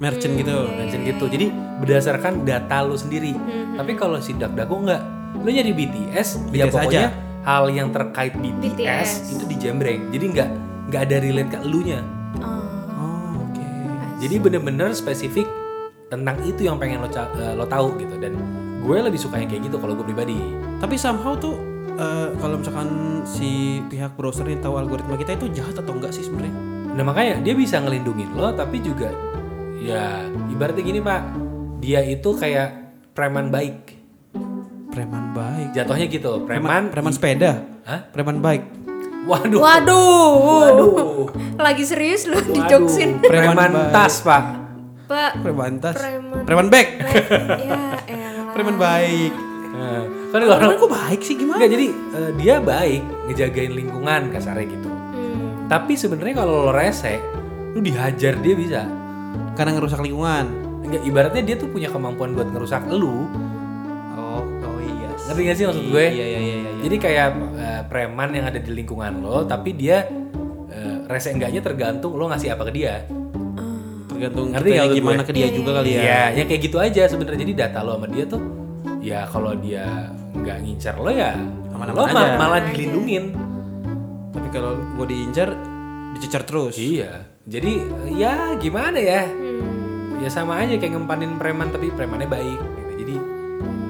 S3: merchant gitu
S2: Mention gitu jadi berdasarkan data lu sendiri tapi kalau si Dakdaku enggak lu nyari BTS, ya
S3: BTS
S2: pokoknya
S3: aja.
S2: hal yang terkait BTS,
S1: BTS.
S2: itu dijembreng jadi nggak nggak ada relate ke elunya
S1: Oh,
S3: oh oke
S2: jadi bener-bener spesifik tentang itu yang pengen lo, ca- eh, lo tahu gitu dan gue lebih suka yang kayak gitu kalau gue pribadi
S3: tapi somehow tuh eh, kalau misalkan si pihak browser ini tahu algoritma kita itu jahat atau enggak sih sebenarnya
S2: nah makanya dia bisa ngelindungin lo tapi juga ya ibaratnya gini pak dia itu kayak preman baik
S3: preman baik
S2: jatuhnya gitu preman
S3: preman sepeda
S2: Hah?
S3: preman baik
S2: waduh
S1: Waduh.
S2: Waduh.
S1: Lagi serius lu dijoksin.
S2: Preman,
S3: Preman
S2: tas, Pak.
S1: Pak.
S3: preman tas
S1: Preman-
S3: preman back
S1: ya elah.
S3: preman baik
S2: Nah, kan
S3: preman
S2: orang
S3: kok baik sih gimana
S2: Nggak, jadi eh, dia baik ngejagain lingkungan kasarnya gitu.
S1: Hmm.
S2: Tapi sebenarnya kalau lo rese, lu dihajar dia bisa.
S3: karena ngerusak lingkungan
S2: Nggak, ibaratnya dia tuh punya kemampuan buat ngerusak lu.
S3: oh oh iya
S2: Ngerti gak sih maksud gue?
S3: iya iya iya, iya.
S2: Jadi kayak eh, preman yang ada di lingkungan lo, tapi dia eh, rese enggaknya tergantung lo ngasih apa ke dia.
S1: Hmm.
S3: tergantung
S2: Ngerti
S3: kitanya
S2: nggak maksud
S3: gimana
S2: gue?
S3: ke dia juga kali ya
S2: Iya, ya kayak gitu aja sebenarnya. Jadi data lo sama dia tuh ya kalau dia nggak ngincar lo ya
S3: Aman-aman
S2: lo ma-
S3: aja.
S2: malah dilindungin.
S3: tapi kalau gue diincar dicecer terus
S2: Iya. Jadi ya gimana ya? Ya sama aja kayak ngempanin preman tapi premannya baik. gitu. Jadi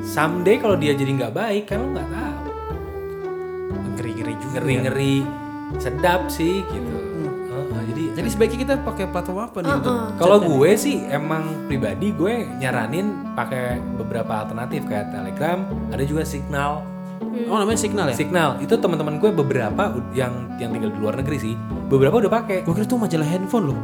S2: someday kalau dia jadi nggak baik kan lo nggak tahu.
S3: ngeri ngeri juga ya. Hmm.
S2: Ngeri ngeri sedap sih gitu. Heeh, jadi
S3: jadi sebaiknya kita pakai platform apa nih untuk
S2: kalau gue sih emang pribadi gue nyaranin pakai beberapa alternatif kayak Telegram, ada juga Signal.
S3: oh namanya signal ya
S2: Signal itu teman-teman gue beberapa ud- yang yang tinggal di luar negeri sih, beberapa udah pakai. [laughs]
S3: gue kira tuh majalah handphone loh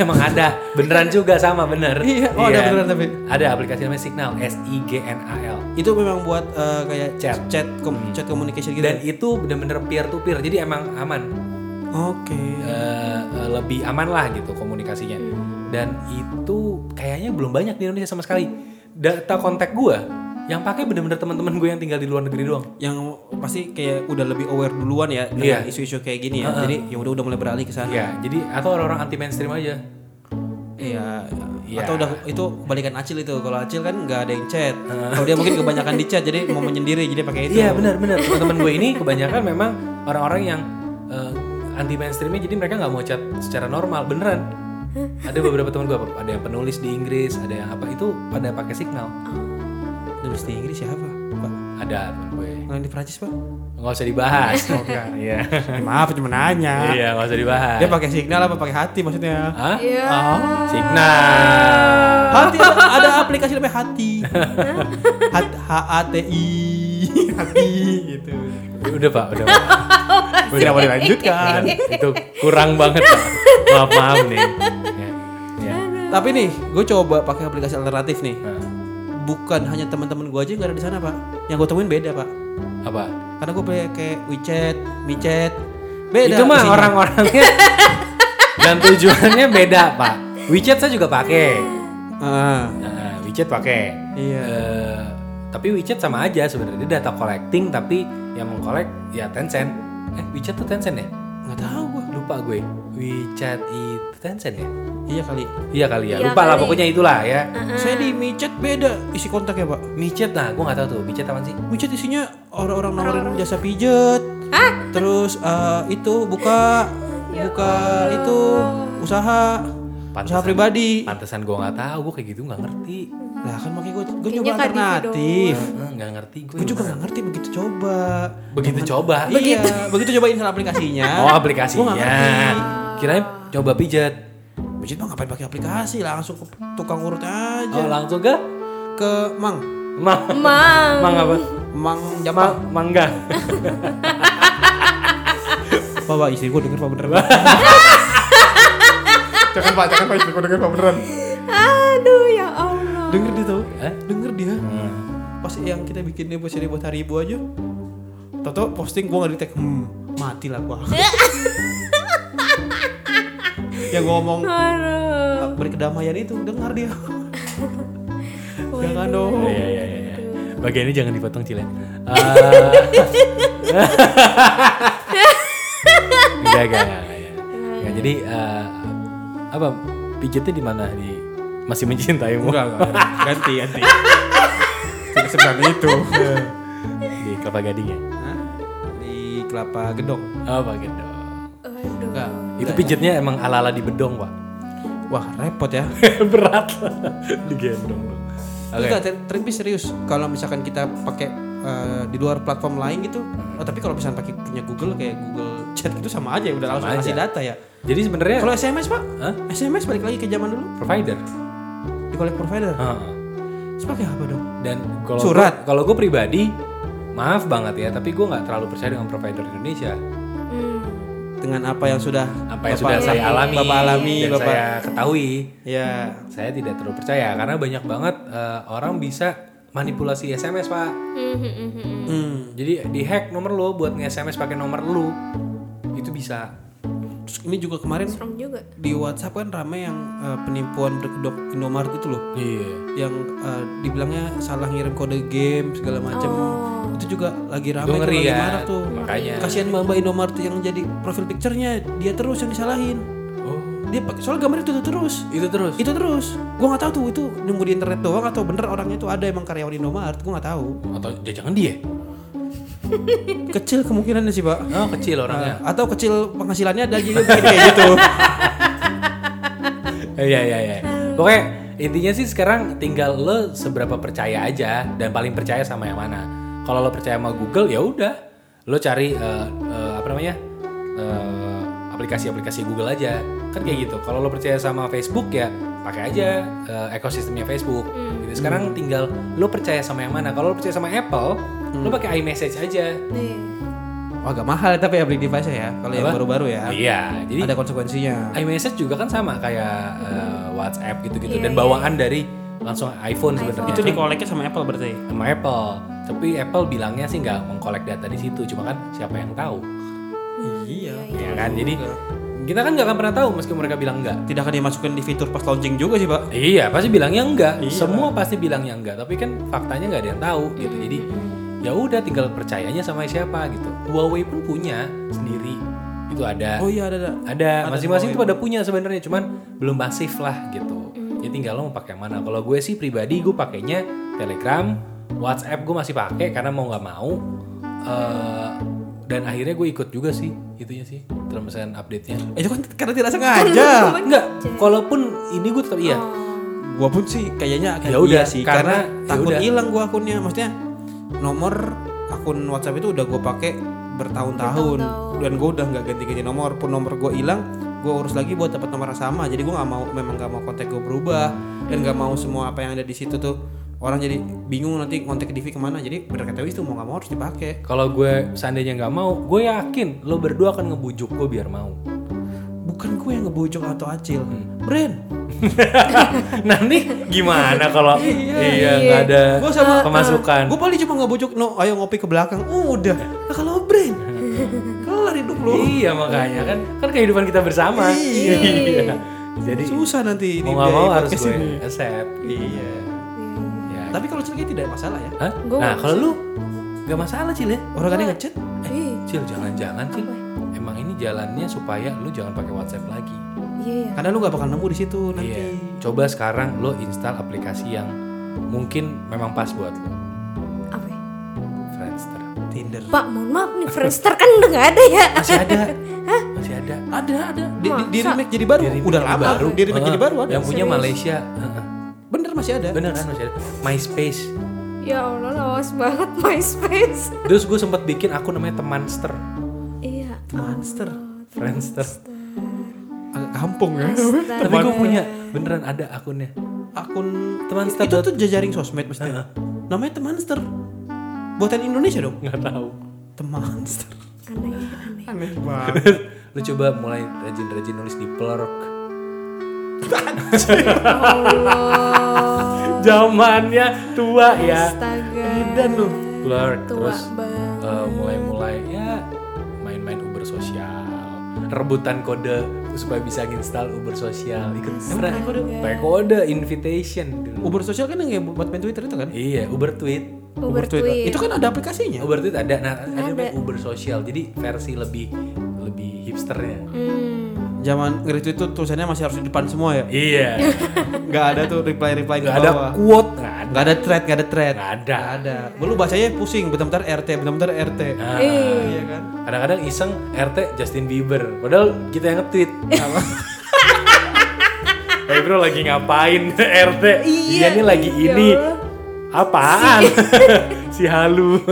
S2: Emang ada, beneran juga sama bener.
S3: [laughs] Iya, oh, ada beneran tapi.
S2: Ada aplikasi namanya Signal, S I G N A L.
S3: itu memang buat eh, kayak
S2: Chat.
S3: chat com- chat communication gitu
S2: Dan itu bener-bener peer to peer, jadi emang aman,
S3: oke
S2: Eh, eh, lebih aman lah gitu komunikasinya. Dan itu kayaknya belum banyak di Indonesia sama sekali. Data kontak gue yang pakai bener-bener teman-teman gue yang tinggal di luar negeri doang.
S3: yang pasti kayak udah lebih aware duluan ya dengan isu-isu kayak gini ya jadi ya udah udah mulai beralih ke sana
S2: Iya, jadi atau orang-orang anti mainstream aja.
S3: Iya.
S2: Iya.
S3: Atau udah itu balikan Acil itu. Kalau Acil kan nggak ada yang chat. Kalau dia mungkin kebanyakan di chat jadi mau menyendiri jadi pakai itu.
S2: Iya benar benar [laughs] teman-teman gue ini kebanyakan memang orang-orang yang eh, anti mainstreamnya jadi mereka nggak mau chat secara normal beneran. Ada beberapa teman gue ada yang penulis di Inggris, ada yang apa itu pada pakai signal.
S3: Nulis di Inggris siapa? Pak.
S2: Ada temen gue
S3: Kalau yang di Prancis, Pak?
S2: nggak usah [laughs] dibahas. Iya
S3: Ya, maaf cuma nanya.
S2: iya nggak usah dibahas.
S3: Dia pakai signal apa pakai hati maksudnya?
S2: Hah? Oh,
S1: Ya.
S2: Signal.
S3: Hati ada, ada aplikasi namanya Hati. Hat- H A T I Hati gitu.
S2: Udah pak, udah.
S3: [laughs]
S2: Pak.
S3: Tidak boleh lanjutkan.
S2: itu kurang banget. Pak. Maaf maaf nih. Ya, ya.
S3: Tapi nih, gue coba pakai aplikasi alternatif nih.
S2: Nah,
S3: Bukan hanya teman-teman gue aja yang gak ada di sana, Pak. Yang gue temuin beda, Pak.
S2: apa?
S3: Karena gue pakai WeChat, MiChat.
S2: itu
S3: Beda.
S2: mah
S3: isinya.
S2: orang-orangnya dan tujuannya beda pak. WeChat saya juga pakai.
S3: Ah,
S2: Nah, WeChat pakai.
S3: Iya.
S2: Eh, tapi WeChat sama aja sebenarnya Dia data collecting tapi yang mengkolek ya Tencent. Eh WeChat tuh Tencent ya?
S3: nggak tahu gua.
S2: Lupa gue. WeChat itu Tencent ya?
S3: Iya kali.
S2: Iya kali ya.
S1: Iya
S2: Lupa lah
S1: kali.
S2: pokoknya itulah ya.
S3: Saya di MiChat beda isi kontak ya, Pak.
S2: WeChat nah gue nggak tahu tuh WeChat apa sih?
S3: WeChat isinya orang-orang nawarin jasa pijet. Terus eh, itu buka buka itu usaha usaha
S2: Pantesan.
S3: pribadi.
S2: Pantesan gue nggak tahu. Gue kayak gitu nggak ngerti.
S3: Lah kan makanya gue gue
S1: Kayaknya Kak
S3: nyoba
S1: Divi
S3: alternatif.
S2: Eh, Nggak ngerti gue.
S3: Gue juga nggak ngerti begitu coba.
S2: Begitu coba.
S3: Ah, Begitu Iya. [laughs] begitu cobain install [laughs] aplikasinya.
S2: Oh
S3: Gua
S2: aplikasinya.
S3: nggak ngerti.
S2: Kirain coba pijat.
S3: Pijit mah ngapain pakai aplikasi langsung ke tukang urut
S2: Oh,
S3: aja.
S2: langsung ke
S3: Ke Mang.
S2: Mang [laughs]
S1: Emang.
S2: Mang apa?
S3: Mang
S2: Mang
S3: Jepang.
S2: Mangga.
S3: Bapak istri gue denger Pak bener Pak.
S4: jangan pak jangan pak istri gue denger pak beneran
S1: Aduh ya Allah.
S3: Denger dia tau.
S2: Hah?
S3: [laughs] Denger dia. Pas yang kita bikin dia posisi buat hari ibu aja. Toto posting gue gak di tag. Hmm, mati lah [laughs] gue. yang ngomong
S1: Aduh.
S3: Oh. berkedamaian itu dengar [laughs] dia. Jangan dong.
S2: Oh, iya iya iya. iya. Bagian ini jangan dipotong
S3: [laughs]
S2: Cile. Eh. Ah. Enggak enggak. enggak. Jadi eh, apa pijitnya di mana di masih mencintaimu
S3: Enggak, enggak. Ganti, ganti.
S4: Tidak seberani itu.
S2: di kelapa gading ya?
S3: Hah? Di kelapa gedong.
S2: Oh pak Gendong.
S1: Aduh.
S3: Enggak.
S2: Itu pijitnya emang ala ala di bedong pak.
S3: Wah, repot ya.
S2: [laughs] Berat lah digendong. Oke.
S3: Enggak, ter- tapi serius. Kalau misalkan kita pakai eh, di luar platform lain gitu, oh tapi kalau misalkan pakai punya Google kayak Google Chat gitu sama aja ya, udah langsung
S2: aja.
S3: kasih data ya.
S2: Jadi sebenarnya
S3: Kalau SMS pak,
S2: Hah?
S3: SMS balik lagi ke zaman dulu
S2: provider.
S3: di collect provider.
S2: Heeh.
S3: Terus pakai apa dong?
S2: Dan kalau
S3: Surat.
S2: gua- kalau gue pribadi, maaf banget ya, tapi gue nggak terlalu percaya dengan provider Indonesia.
S1: Hmm.
S3: Dengan apa yang sudah
S2: Apa yang sudah
S3: Bapak-
S2: saya alami,
S3: Bapak alami,
S2: dan
S3: bapak.
S2: saya ketahui,
S3: Ya,
S2: saya tidak terlalu percaya karena banyak banget eh, orang bisa manipulasi SMS pak.
S1: Hmm, hmm, hmm, hmm.
S3: hmm.
S2: Jadi di hack nomor lo buat nge SMS pakai nomor lu itu bisa.
S3: Terus ini juga kemarin
S1: Serem juga.
S3: di WhatsApp kan rame yang eh, penimpuan berkedok Indomaret itu loh,
S2: Iya.
S3: yang eh, dibilangnya salah ngirim kode game segala macam.
S1: Oh.
S3: Itu juga lagi rame
S2: Itu
S3: tuh,
S2: ngeri
S3: lagi
S2: kan,
S3: marah tuh.
S2: makanya.
S3: Kasihan Mbak Indomaret yang jadi profil picture-nya dia terus yang disalahin.
S2: Oh.
S3: Dia pakai soal gambarnya itu, itu terus.
S2: Itu terus.
S3: Itu terus. Gua nggak tahu tuh itu nemu di internet doang atau bener orangnya itu ada emang karyawan Indomaret, gua nggak tahu.
S2: Atau ya jangan dia?
S3: Kecil kemungkinannya sih, Pak.
S2: Oh kecil orangnya.
S3: Atau kecil penghasilannya ada jadi bikin kayak
S2: [laughs]
S3: gitu.
S2: Iya iya iya. Pokoknya intinya sih sekarang tinggal lo seberapa percaya aja dan paling percaya sama yang mana. Kalau lo percaya sama Google ya udah, lo cari eh, eh, apa namanya eh, aplikasi-aplikasi Google aja kan kayak gitu. Kalau lo percaya sama Facebook ya pakai aja eh, ekosistemnya Facebook. Gitu. Sekarang tinggal lo percaya sama yang mana. Kalau lo percaya sama Apple, lo pakai iMessage aja.
S1: Nih.
S3: Wah, agak mahal tapi ya beli device ya kalau yang
S2: Apa?
S3: baru-baru ya.
S2: Iya. Jadi
S3: Ada konsekuensinya.
S2: iMessage juga kan sama kayak eh, WhatsApp gitu-gitu
S1: Iya,
S2: dan
S1: iya,
S2: bawaan dari langsung iPhone sebenarnya.
S3: Itu dikoleknya sama Apple berarti.
S2: sama Apple. Tapi Apple bilangnya sih nggak mengkolek data di situ, cuma kan siapa yang tahu,
S3: Iya.
S2: ya kan? Jadi kita kan nggak akan pernah tahu meski mereka bilang enggak.
S3: Tidak akan dimasukin di fitur pas launching juga sih, Pak.
S2: Iya, pasti bilangnya enggak.
S1: Iya.
S2: Semua pasti bilangnya enggak, tapi kan faktanya nggak ada yang tahu gitu.
S1: Iya.
S2: Jadi ya udah tinggal percayanya sama siapa gitu. Huawei pun punya sendiri. Itu ada.
S3: Oh iya, ada ada.
S2: Ada,
S3: Ada
S2: masing-masing tuh pada punya sebenarnya, cuman belum masif lah gitu. Jadi tinggal lo mau pakai yang mana. Kalau gue sih pribadi gue pakainya Telegram, WhatsApp gue masih pakai karena mau nggak mau. eh, dan akhirnya gue ikut juga sih, itunya sih terms and update-nya.
S3: Itu kan karena tidak sengaja.
S2: Enggak, kalaupun ini gue tetap iya.
S3: gua pun sih kayaknya akan
S2: Ya udah,
S3: iya sih
S2: karena-
S3: karena,
S2: ya
S3: takut
S2: udah.
S3: hilang gua akunnya. Maksudnya nomor akun WhatsApp itu udah gua pakai bertahun-tahun dan gua udah nggak ganti-ganti nomor pun nomor gua hilang gua urus lagi buat dapat nomor yang sama jadi gua nggak mau memang nggak mau kontak gua berubah dan nggak mau semua apa yang ada di situ tuh orang jadi bingung nanti kontak Divi kemana jadi bener kata Wis tuh mau nggak mau harus dipakai
S2: Kalau gue seandainya nggak mau, gue yakin lo berdua akan ngebujuk gue biar mau.
S3: bukan gue yang ngebojok atau acil
S2: Hmm.
S3: Bren
S2: nah nih gimana kalau iya nggak ada
S3: Gua sama-
S2: pemasukan?
S3: gue paling cuma ngebojok no ayo ngopi ke belakang oh, udah nah, kalau
S2: [laughs]
S3: Bren kelar hidup lo
S2: Iya makanya kan kan kehidupan kita bersama. Iya. Jadi
S3: susah nanti
S2: mau nggak mau
S3: dibiayain
S2: harus
S3: podcast
S2: gue
S3: ini.
S2: accept.
S3: iya
S2: Ya.
S3: tapi kalau cerita tidak masalah ya
S2: Hah?
S1: Gua
S2: Nah
S1: nggak
S2: kalau lu nggak masalah Cil ya?
S3: orang kadang ngechat
S1: Ih,
S2: Cil jangan-jangan Cil emang ini jalannya supaya lu jangan pakai WhatsApp lagi.
S1: Iya ya.
S3: karena lu gak bakal nemu di situ nanti
S2: Iya. Coba sekarang lu install aplikasi yang mungkin memang pas buat lu.
S1: Apa? ya?
S2: Friendster.
S3: Tinder
S1: Pak, mohon maaf nih Friendster kan udah gak ada ya.
S2: Masih ada. Masih ada.
S3: ada ada di, di, di
S1: Masa?
S3: remake jadi baru
S2: Remake
S3: udah
S2: jadi
S3: lama
S2: baru.
S3: di remake
S2: Ah,
S3: jadi baru ada
S2: Yang punya Malaysia. Heeh.
S3: bener masih ada
S2: Bener kan masih ada. MySpace.
S1: [laughs] ya Allah, lawas banget MySpace.
S2: Terus gue sempat bikin akun namanya Temanster.
S1: Iya.
S3: Monster
S2: Friendster.
S3: agak kampung ya
S2: Tapi gue punya beneran ada akunnya.
S3: akun
S2: Temanster
S3: itu
S2: dot-
S3: tuh jaring sosmed mestinya namanya temanster buatan Indonesia dong
S2: Nggak tahu. [laughs]
S3: temanster
S1: Aneh, aneh.
S4: Aneh banget.
S2: Lu coba mulai rajin-rajin nulis di Plurk. [laughs]
S1: Allah.
S2: Zamannya tua ya.
S1: Astaga.
S2: Dan lu Plurk
S1: Tua
S2: terus
S1: banget.
S2: eh, mulai-mulai ya main-main Uber sosial rebutan kode supaya bisa install Uber sosial ikut pakai kode
S1: ya.
S2: pakai kode invitation dulu.
S3: Uber sosial kan yang kayak buat main Twitter itu kan
S2: iya Uber tweet
S1: Uber
S3: Tweet.
S1: tweet.
S3: itu kan ada aplikasinya
S2: Uber tweet ada nah ada, namanya Uber sosial jadi versi lebih lebih hipsternya
S1: Hmm.
S3: zaman nge-retweet tuh tulisannya masih harus di depan semua ya.
S2: Iya.
S3: Nggak ada tuh reply-reply di
S2: Gak ada
S3: bawah.
S2: quote, nggak ada.
S3: Nggak ada thread, nggak ada thread.
S2: Nggak ada.
S3: Nggak ada. Belum bacanya pusing, bentar-bentar RT, bentar-bentar RT.
S2: Nah,
S3: Iya kan?
S2: kadang-kadang iseng RT Justin Bieber. Padahal kita yang nge-tweet. [laughs] Hey bro lagi ngapain RT? Iya nih lagi
S1: iya.
S2: ini. Apaan? [laughs] si halu.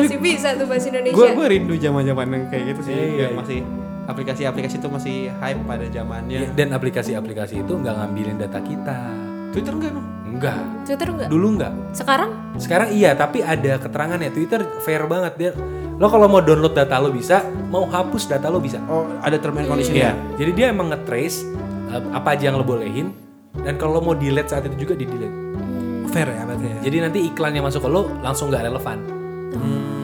S1: Masih bisa tuh bahasa Indonesia.
S3: Gue gue rindu zaman-zaman yang kayak gitu sih.
S2: Iya, iya,
S3: Yang
S2: iya.
S3: masih aplikasi-aplikasi itu masih hype pada zamannya.
S2: Dan aplikasi-aplikasi itu nggak ngambilin data kita.
S3: Twitter enggak emang?
S2: Enggak.
S1: Twitter enggak?
S2: Dulu nggak.
S1: Sekarang?
S2: Sekarang iya, tapi ada keterangannya. Twitter fair banget dia. Lo kalau mau download data lo bisa, mau hapus data lo bisa.
S3: Oh, ada term and condition
S2: Iya. Jadi dia emang nge-trace uh, apa aja yang lo bolehin dan kalau lo mau delete saat itu juga di delete.
S3: Fair ya berarti ya.
S2: Jadi nanti iklan yang masuk ke lo langsung nggak relevan.
S3: Hmm.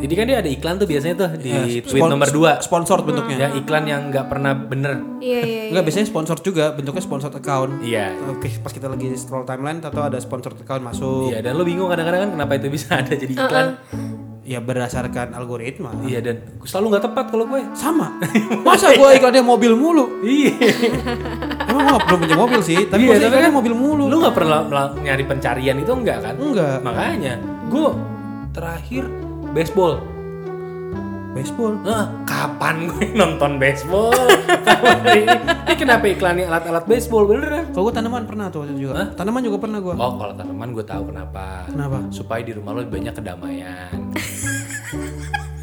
S2: Jadi kan dia ada iklan tuh biasanya tuh di tweet
S3: Spon-
S2: nomor 2
S3: Sponsored
S2: ya
S3: bentuknya.
S2: iklan yang nggak pernah bener.
S1: Iya iya. iya.
S3: Enggak biasanya sponsor juga, bentuknya sponsored account.
S2: Iya.
S3: Oke, pas kita lagi scroll timeline atau ada sponsor account masuk.
S2: Iya dan lo bingung kadang-kadang kan kenapa itu bisa [laughs] ada jadi iklan.
S3: Ya berdasarkan algoritma.
S2: Iya dan selalu nggak tepat kalau gue.
S3: Sama. Masa gua iklannya mobil mulu?
S2: Iya.
S3: Emang gua nggak belum punya mobil sih, tapi
S2: Iya,
S3: gua sih
S2: tapi
S3: iklannya
S2: kan
S3: mobil mulu.
S2: Lu nggak pernah mel- nyari pencarian itu enggak kan?
S3: Enggak.
S2: Makanya gue terakhir baseball
S3: Baseball.
S2: Hah, kapan gue [laughs] nonton baseball? Kapan ini? Ini kenapa iklannya alat-alat baseball beneran?
S3: Kalau gua tanaman pernah tuh waktu itu juga. Tanaman juga pernah gua.
S2: Oh, kalau tanaman gue tahu kenapa.
S3: Kenapa?
S2: Supaya di rumah lo lebih banyak kedamaian.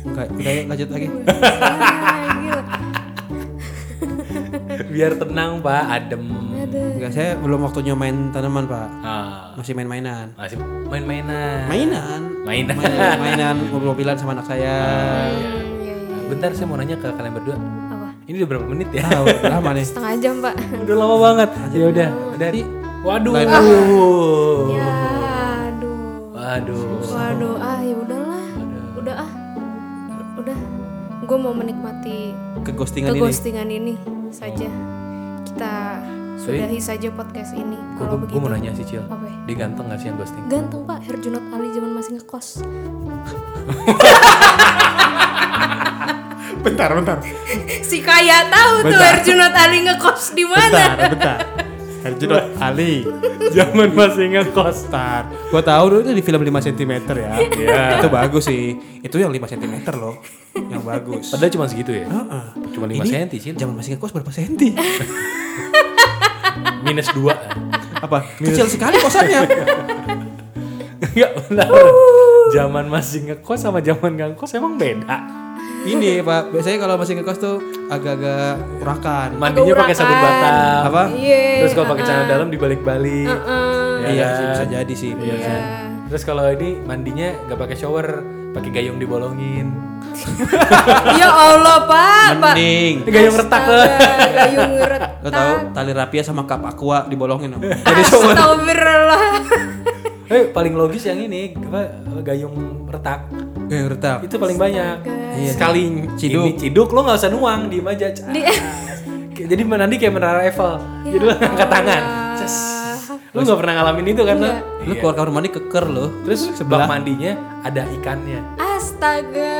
S3: Enggak, udah ya, lanjut lagi.
S1: Ah, gila.
S2: Biar tenang, Pak, adem.
S3: Enggak, saya belum waktunya main tanaman, Pak.
S2: Ah,
S3: Masih main-mainan.
S2: masih main-mainan.
S3: Mainan.
S2: Mainan.
S3: Mainan, mainan mobil-mobilan sama anak saya.
S1: Hmm, iya, iya.
S2: Bentar saya mau nanya ke kalian berdua.
S1: Apa?
S2: Ini udah berapa menit ya?
S3: Tahu lama nih.
S1: Setengah jam, Pak.
S2: udah lama banget. Ya udah, dari Waduh. Iya.
S1: Ya, aduh.
S2: Waduh.
S1: Waduh, ah ya udahlah. Udah ah. Udah. Gue mau menikmati
S3: Keghostingan ini.
S1: keghostingan ini saja. Kita sudahi saja podcast ini. Kalau
S2: Gue
S1: begitu.
S2: mau nanya sih, Cil.
S1: Apa ya?
S2: Dia ganteng gak sih yang ghosting?
S1: Ganteng Pak Herjunot Ali zaman masih ngekos.
S4: Bentar, bentar.
S1: si kaya tahu tuh
S4: Bentar.
S1: Herjunot Ali ngekos di
S4: Bentar,
S1: mana.
S4: bentar. Herjunot Ali. Zaman masih ngekos Tar. Gua tahu dulu itu di film 5 cm ya.
S2: Iya.
S4: Itu bagus sih. Itu yang 5 cm loh. Yang bagus.
S2: Padahal cuma segitu ya?
S3: Heeh.
S2: Cuma 5
S3: Ini
S2: cm sih.
S3: Zaman masih ngekos berapa
S2: [laughs]
S3: senti?
S2: Minus [laughs] 2.
S4: Apa?
S3: Kecil sekali kosannya.
S2: [laughs] Enggak, benar. Zaman masih ngekos sama zaman ngangkos emang beda.
S3: ini, Pak. Biasanya kalau masih ngekos tuh agak-agak urakan.
S2: Mandinya pakai sabun
S1: urakan.
S2: batang.
S3: Apa?
S1: Iya.
S2: Terus kalau pakai celana dalam dibalik-balik. Ya
S3: Iya,
S2: kan?
S3: sih, bisa jadi sih. bener
S2: Iya.
S3: sih.
S2: Terus kalau ini mandinya nggak pakai shower, pakai gayung dibolongin.
S1: [laughs] ya Allah Pak, Pak.
S3: Mending.
S2: Gayung retak
S1: Astaga,
S2: lah.
S1: Gayung
S3: Lo tahu
S1: retak.
S3: tali rapia sama cup aqua dibolongin om.
S2: [laughs]
S3: Jadi shower.
S1: Astagfirullah.
S2: Eh, paling logis yang ini, apa gayung retak.
S3: Gaya retak.
S2: Itu paling banyak. Sekali ciduk,
S3: Ciduk.
S2: ciduk lo nggak usah nuang, diem aja. Cas.
S1: Di- [laughs] Ya
S2: Kayak- Jadi menandi kayak menara Eiffel. Jadi lo [laughs] angkat tangan. Cas. Lu nggak pernah ngalamin itu
S1: Iya.
S2: kan lo?
S3: Lu keluar kamar mandi keker lo.
S2: Terus sebelah mandinya ada ikannya.
S1: Astaga.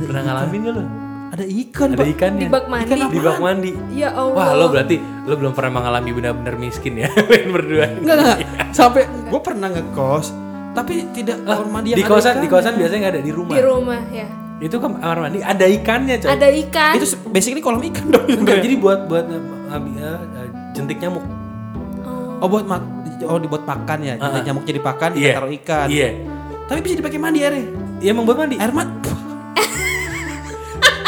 S2: pernah ngalamin gak lo?
S3: Ada ikan
S2: Ada
S3: pak.
S2: ikannya.
S1: Di bak mandi.
S2: Di bak mandi.
S1: Ya Allah.
S2: Wah lo berarti lo belum pernah mengalami benar-benar miskin ya [laughs] main berdua.
S3: Enggak enggak.
S2: Iya.
S3: Sampai gue pernah ngekos, tapi tidak
S2: Lah,
S3: kamar mandi yang
S2: di
S3: ada
S2: kosan di
S3: ikannya.
S2: kosan biasanya nggak ada di rumah.
S1: Di rumah ya.
S2: Itu kamar mandi ada ikannya coy.
S1: Ada ikan.
S3: Itu se- basically kolam ikan [laughs] dong.
S2: [laughs] Enggak, jadi buat buat eh, eh, eh, jentik nyamuk.
S3: Oh buat mak oh dibuat pakan ya. Jadi nyamuk jadi pakan, kita
S2: Iya.
S3: taruh ikan.
S2: Iya.
S3: Tapi bisa dipakai mandi airnya.
S2: Iya emang buat mandi.
S3: Air mat.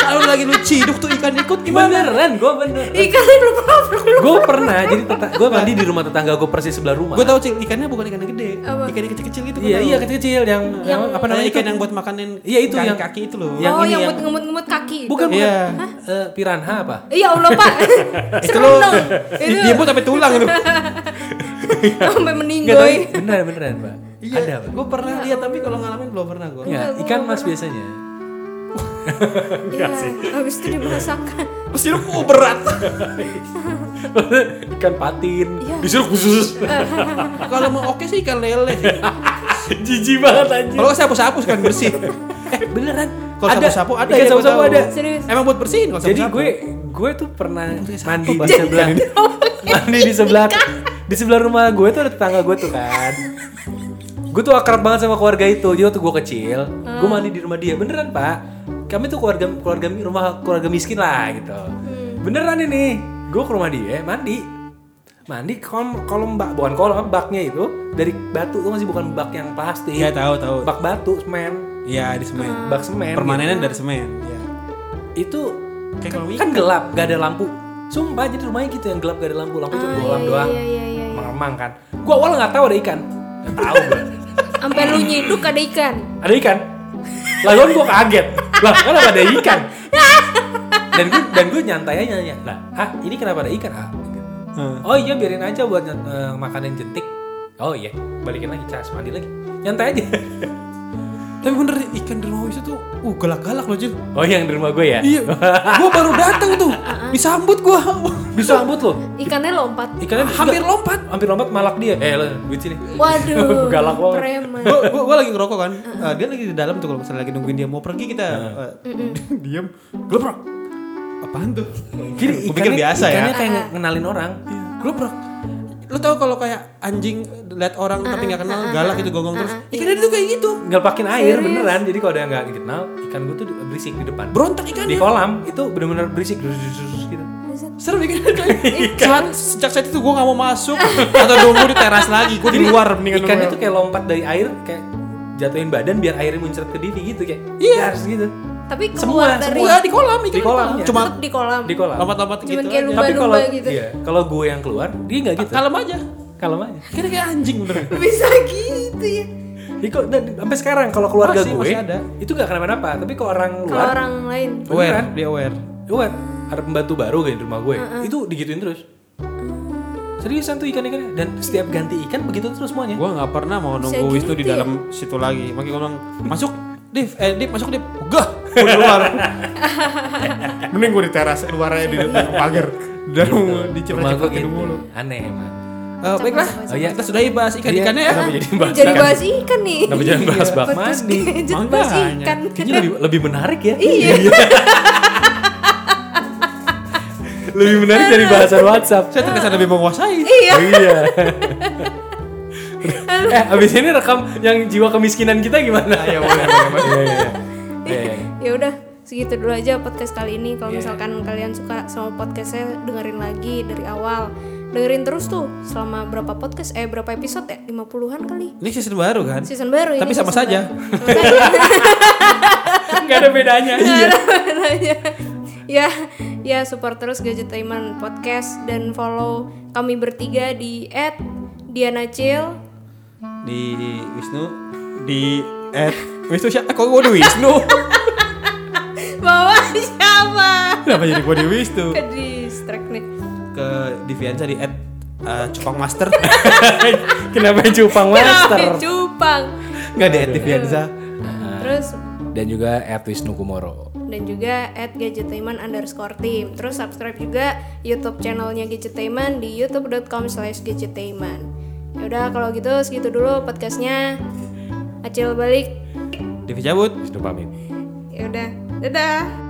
S3: Kalau lagi lu ciduk tuh ikan ikut gimana?
S2: Beneran, gue bener.
S1: Ikan berapa?
S2: gue pernah jadi gue mandi di rumah tetangga gue persis sebelah rumah.
S3: Gue tahu cil ikannya bukan ikan yang gede,
S1: Apa?
S3: ikan yang kecil-kecil gitu. gua
S2: Iya
S3: tahu.
S2: iya kecil-kecil yang, yang apa
S3: Karena
S2: namanya
S3: ikan
S2: itu?
S3: yang buat makanin
S2: Iya, itu
S3: ikan
S2: yang-
S3: kaki itu loh.
S2: Yang
S1: oh, yang
S2: ini yang-
S1: buat ngemut-ngemut kaki.
S2: Bukan bukan.
S3: Iya.
S2: Eh, piranha apa?
S1: Iya Allah
S2: [laughs]
S1: Pak.
S3: Itu
S1: [laughs] Serem
S3: loh.
S1: dong.
S3: Di- Dia buat sampai tulang itu.
S1: [laughs] sampai Iya.
S2: Enggak tapi
S1: meninggoy.
S2: beneran beneran pak.
S3: Iya.
S2: Ada pak.
S3: Gue pernah lihat tapi kalau ngalamin belum pernah gue.
S2: Ya, ikan mas biasanya.
S1: Iya. Habis itu dimasakan.
S3: Terus hidup oh, berat.
S2: ikan patin.
S1: Iya.
S2: Disuruh khusus.
S3: kalau mau oke sih ikan lele. sih.
S2: Jijik banget anjir.
S3: Kalau nggak saya hapus hapus kan bersih.
S2: eh beneran
S5: Kalau sapu-sapu ada
S2: ikan
S5: ya, gua
S2: sapu-sapu
S5: tahu.
S2: ada
S3: Eh,
S1: Serius.
S5: Emang buat bersihin kalau
S2: jadi
S5: sapu-sapu.
S2: gue gue tuh pernah mandi di
S5: bahasa
S2: sebelah mandi di sebelah di sebelah rumah gue tuh ada tetangga gue tuh kan gue tuh akrab banget sama keluarga itu jadi waktu gue kecil gue mandi di rumah dia beneran pak kami tuh keluarga keluarga rumah keluarga miskin lah gitu beneran ini gue ke rumah dia mandi mandi kolom kolom bak bukan kolom baknya itu dari batu tuh masih bukan bak yang plastik
S3: Iya tahu tahu.
S2: bak batu semen
S3: Iya di semen.
S2: bak semen gitu.
S3: Permanennya dari semen. Iya.
S2: itu
S3: Kayak kalau
S2: kan gelap gak ada lampu sumpah jadi rumahnya gitu yang gelap gak ada lampu lampu cuma bolam doang
S1: Iya iya iya.
S2: remang-remang kan gua awalnya nggak tahu ada ikan Nggak tahu gua.
S1: Sampai lu nyiduk ada ikan.
S2: ada ikan lalu gua kaget lah kenapa ada ikan dan gue dan gue nyantai aja nanya lah ah ini kenapa ada ikan ah oh iya biarin aja buat nyant- eh, makanan jentik oh iya balikin lagi cas mandi lagi nyantai aja
S3: Tapi bener ikan dermawan itu tuh, uh galak-galak loh Jil.
S2: [laughs] oh yang di rumah gue ya
S3: Iya. gua baru datang tuh, disambut gua.
S2: disambut
S1: [laughs]
S2: loh
S1: Ikannya lompat.
S2: ikannya
S3: Hampir lompat.
S2: hampir lompat malak dia eh lo, duit sini
S1: Waduh.
S2: [laughs] Galak banget.
S1: Preman.
S3: gua, gua, gua lagi ngerokok kan. Eh, dia lagi di dalam tuh kalau misalnya lagi nungguin dia mau pergi kita eh, [laughs] diam. Geloprok. Apaan tuh?
S2: Jadi
S3: Gua pikir biasa ya. Iya.
S2: Ikannya kayak nge- ngenalin orang.
S3: Geloprok. Lu tau kalau kayak anjing lihat orang tapi nggak kenal galak gitu gonggong terus. Ikannya itu kayak gitu.
S2: Ngelepakin air beneran. Jadi kalau ada yang nggak dikenal, ikan gue tuh di- berisik di depan.
S3: Berontak
S2: Di
S3: ikannya.
S2: kolam itu bener-bener berisik dus, dus, dus, dus, gitu.
S3: Serem ikannya. [laughs] Sejak, sejak saat itu gua nggak mau masuk atau nunggu di teras lagi. Gua di luar mendingan
S2: Ikannya
S3: nunggu.
S2: tuh kayak lompat dari air kayak jatuhin badan biar airnya muncrat ke diri gitu kayak.
S3: Iya.
S2: Harus gitu.
S1: Tapi keluar
S2: Semua,
S1: dari
S3: Enggak di kolam ikan.
S2: Di kolam, ya.
S3: Cuma
S1: tetep di kolam.
S2: Di kolam.
S3: lompat-lompat
S1: Cuman
S3: gitu.
S1: iya. kayak
S3: aja.
S1: lumba-
S2: Tapi kalau
S1: lumba-lumba gitu.
S2: iya, kalau gue yang keluar, dia nggak gitu.
S3: Kalem aja.
S2: Kalem aja.
S3: Kira kayak anjing bener.
S1: Bisa gitu ya.
S2: Jadi kok- dan- sampai sekarang kalau keluarga
S3: Masih-
S2: gue
S3: masih ada.
S2: itu nggak kenapa-napa, tapi kalau orang
S1: Kalau
S2: luar
S1: orang lain.
S2: Beneran.
S3: Aware, dia aware.
S2: Gue ada pembantu kan baru kayak di rumah gue. Itu digituin terus. Seriusan tuh ikan-ikannya dan setiap ganti ikan begitu terus semuanya.
S3: Gua nggak pernah mau nunggu
S1: Bisa gitu
S3: Wisnu di dalam situ lagi. Makanya gua bilang, "Masuk, Div. Eh, Div, masuk, Div." Gah, Eh, gua di luar. Mending gua di teras luar aja di depan pagar. Dan
S2: Gitu. Rumah gue
S3: diceplok-ceplokin
S2: gitu.
S3: mulu.
S2: Aneh emang.
S3: Eh, baiklah,
S2: Oh, iya.
S3: kita sudahi bahas ikan-ikannya ya.
S2: Kenapa
S1: iya.
S2: jadi bahas
S1: Jadi
S2: ikan?
S1: bahas ikan nih. Iya,
S2: Kenapa jangan bahas bak mandi?
S1: Jadi bahas
S3: Makanya.
S1: ikan.
S2: Kayaknya gitu lebih, lebih menarik ya. Iya. lebih menarik dari bahasan WhatsApp.
S3: Saya terkesan lebih menguasai.
S2: Iya. iya. [laughs] eh, abis ini rekam yang jiwa kemiskinan kita gimana? [laughs] Iya, boleh, Iya,
S1: ya udah segitu dulu aja podcast kali ini
S2: Iya.
S1: kalau misalkan kalian suka sama podcastnya dengerin lagi dari awal dengerin terus tuh selama berapa podcast eh berapa episode ya 50-an kali
S3: Ini season baru kan?
S1: season baru ini
S3: Tapi sama
S1: season
S3: saja.
S1: baru. Sama saja.
S2: Gak ada bedanya.
S1: Iya.
S2: Iya.
S1: [laughs] ya ya support terus gadget Taiman podcast dan follow kami bertiga di at Diana [laughs] Cil
S3: Di Wisnu di eh Wisnu siapa? Kok gua di Wisnu?
S1: bawa siapa
S3: Kenapa jadi gua di Wisnu?
S1: ke distract nih
S3: Ke Diviansa di at eh, Cupang Master. [laughs]
S2: Kenapa cupang
S1: [laughs]
S2: master?
S1: Kenapa cupang
S3: Enggak di at Diviansa.
S1: terus
S2: Dan juga at Wisnu Kumoro.
S1: dan juga at gadgetainment underscore team terus subscribe juga youtube channelnya gadgetainment di youtube.com slash gadgetainment yaudah kalau gitu segitu dulu podcastnya acil balik
S3: Divi cabut.
S2: Wisnu pamit.
S1: yaudah dadah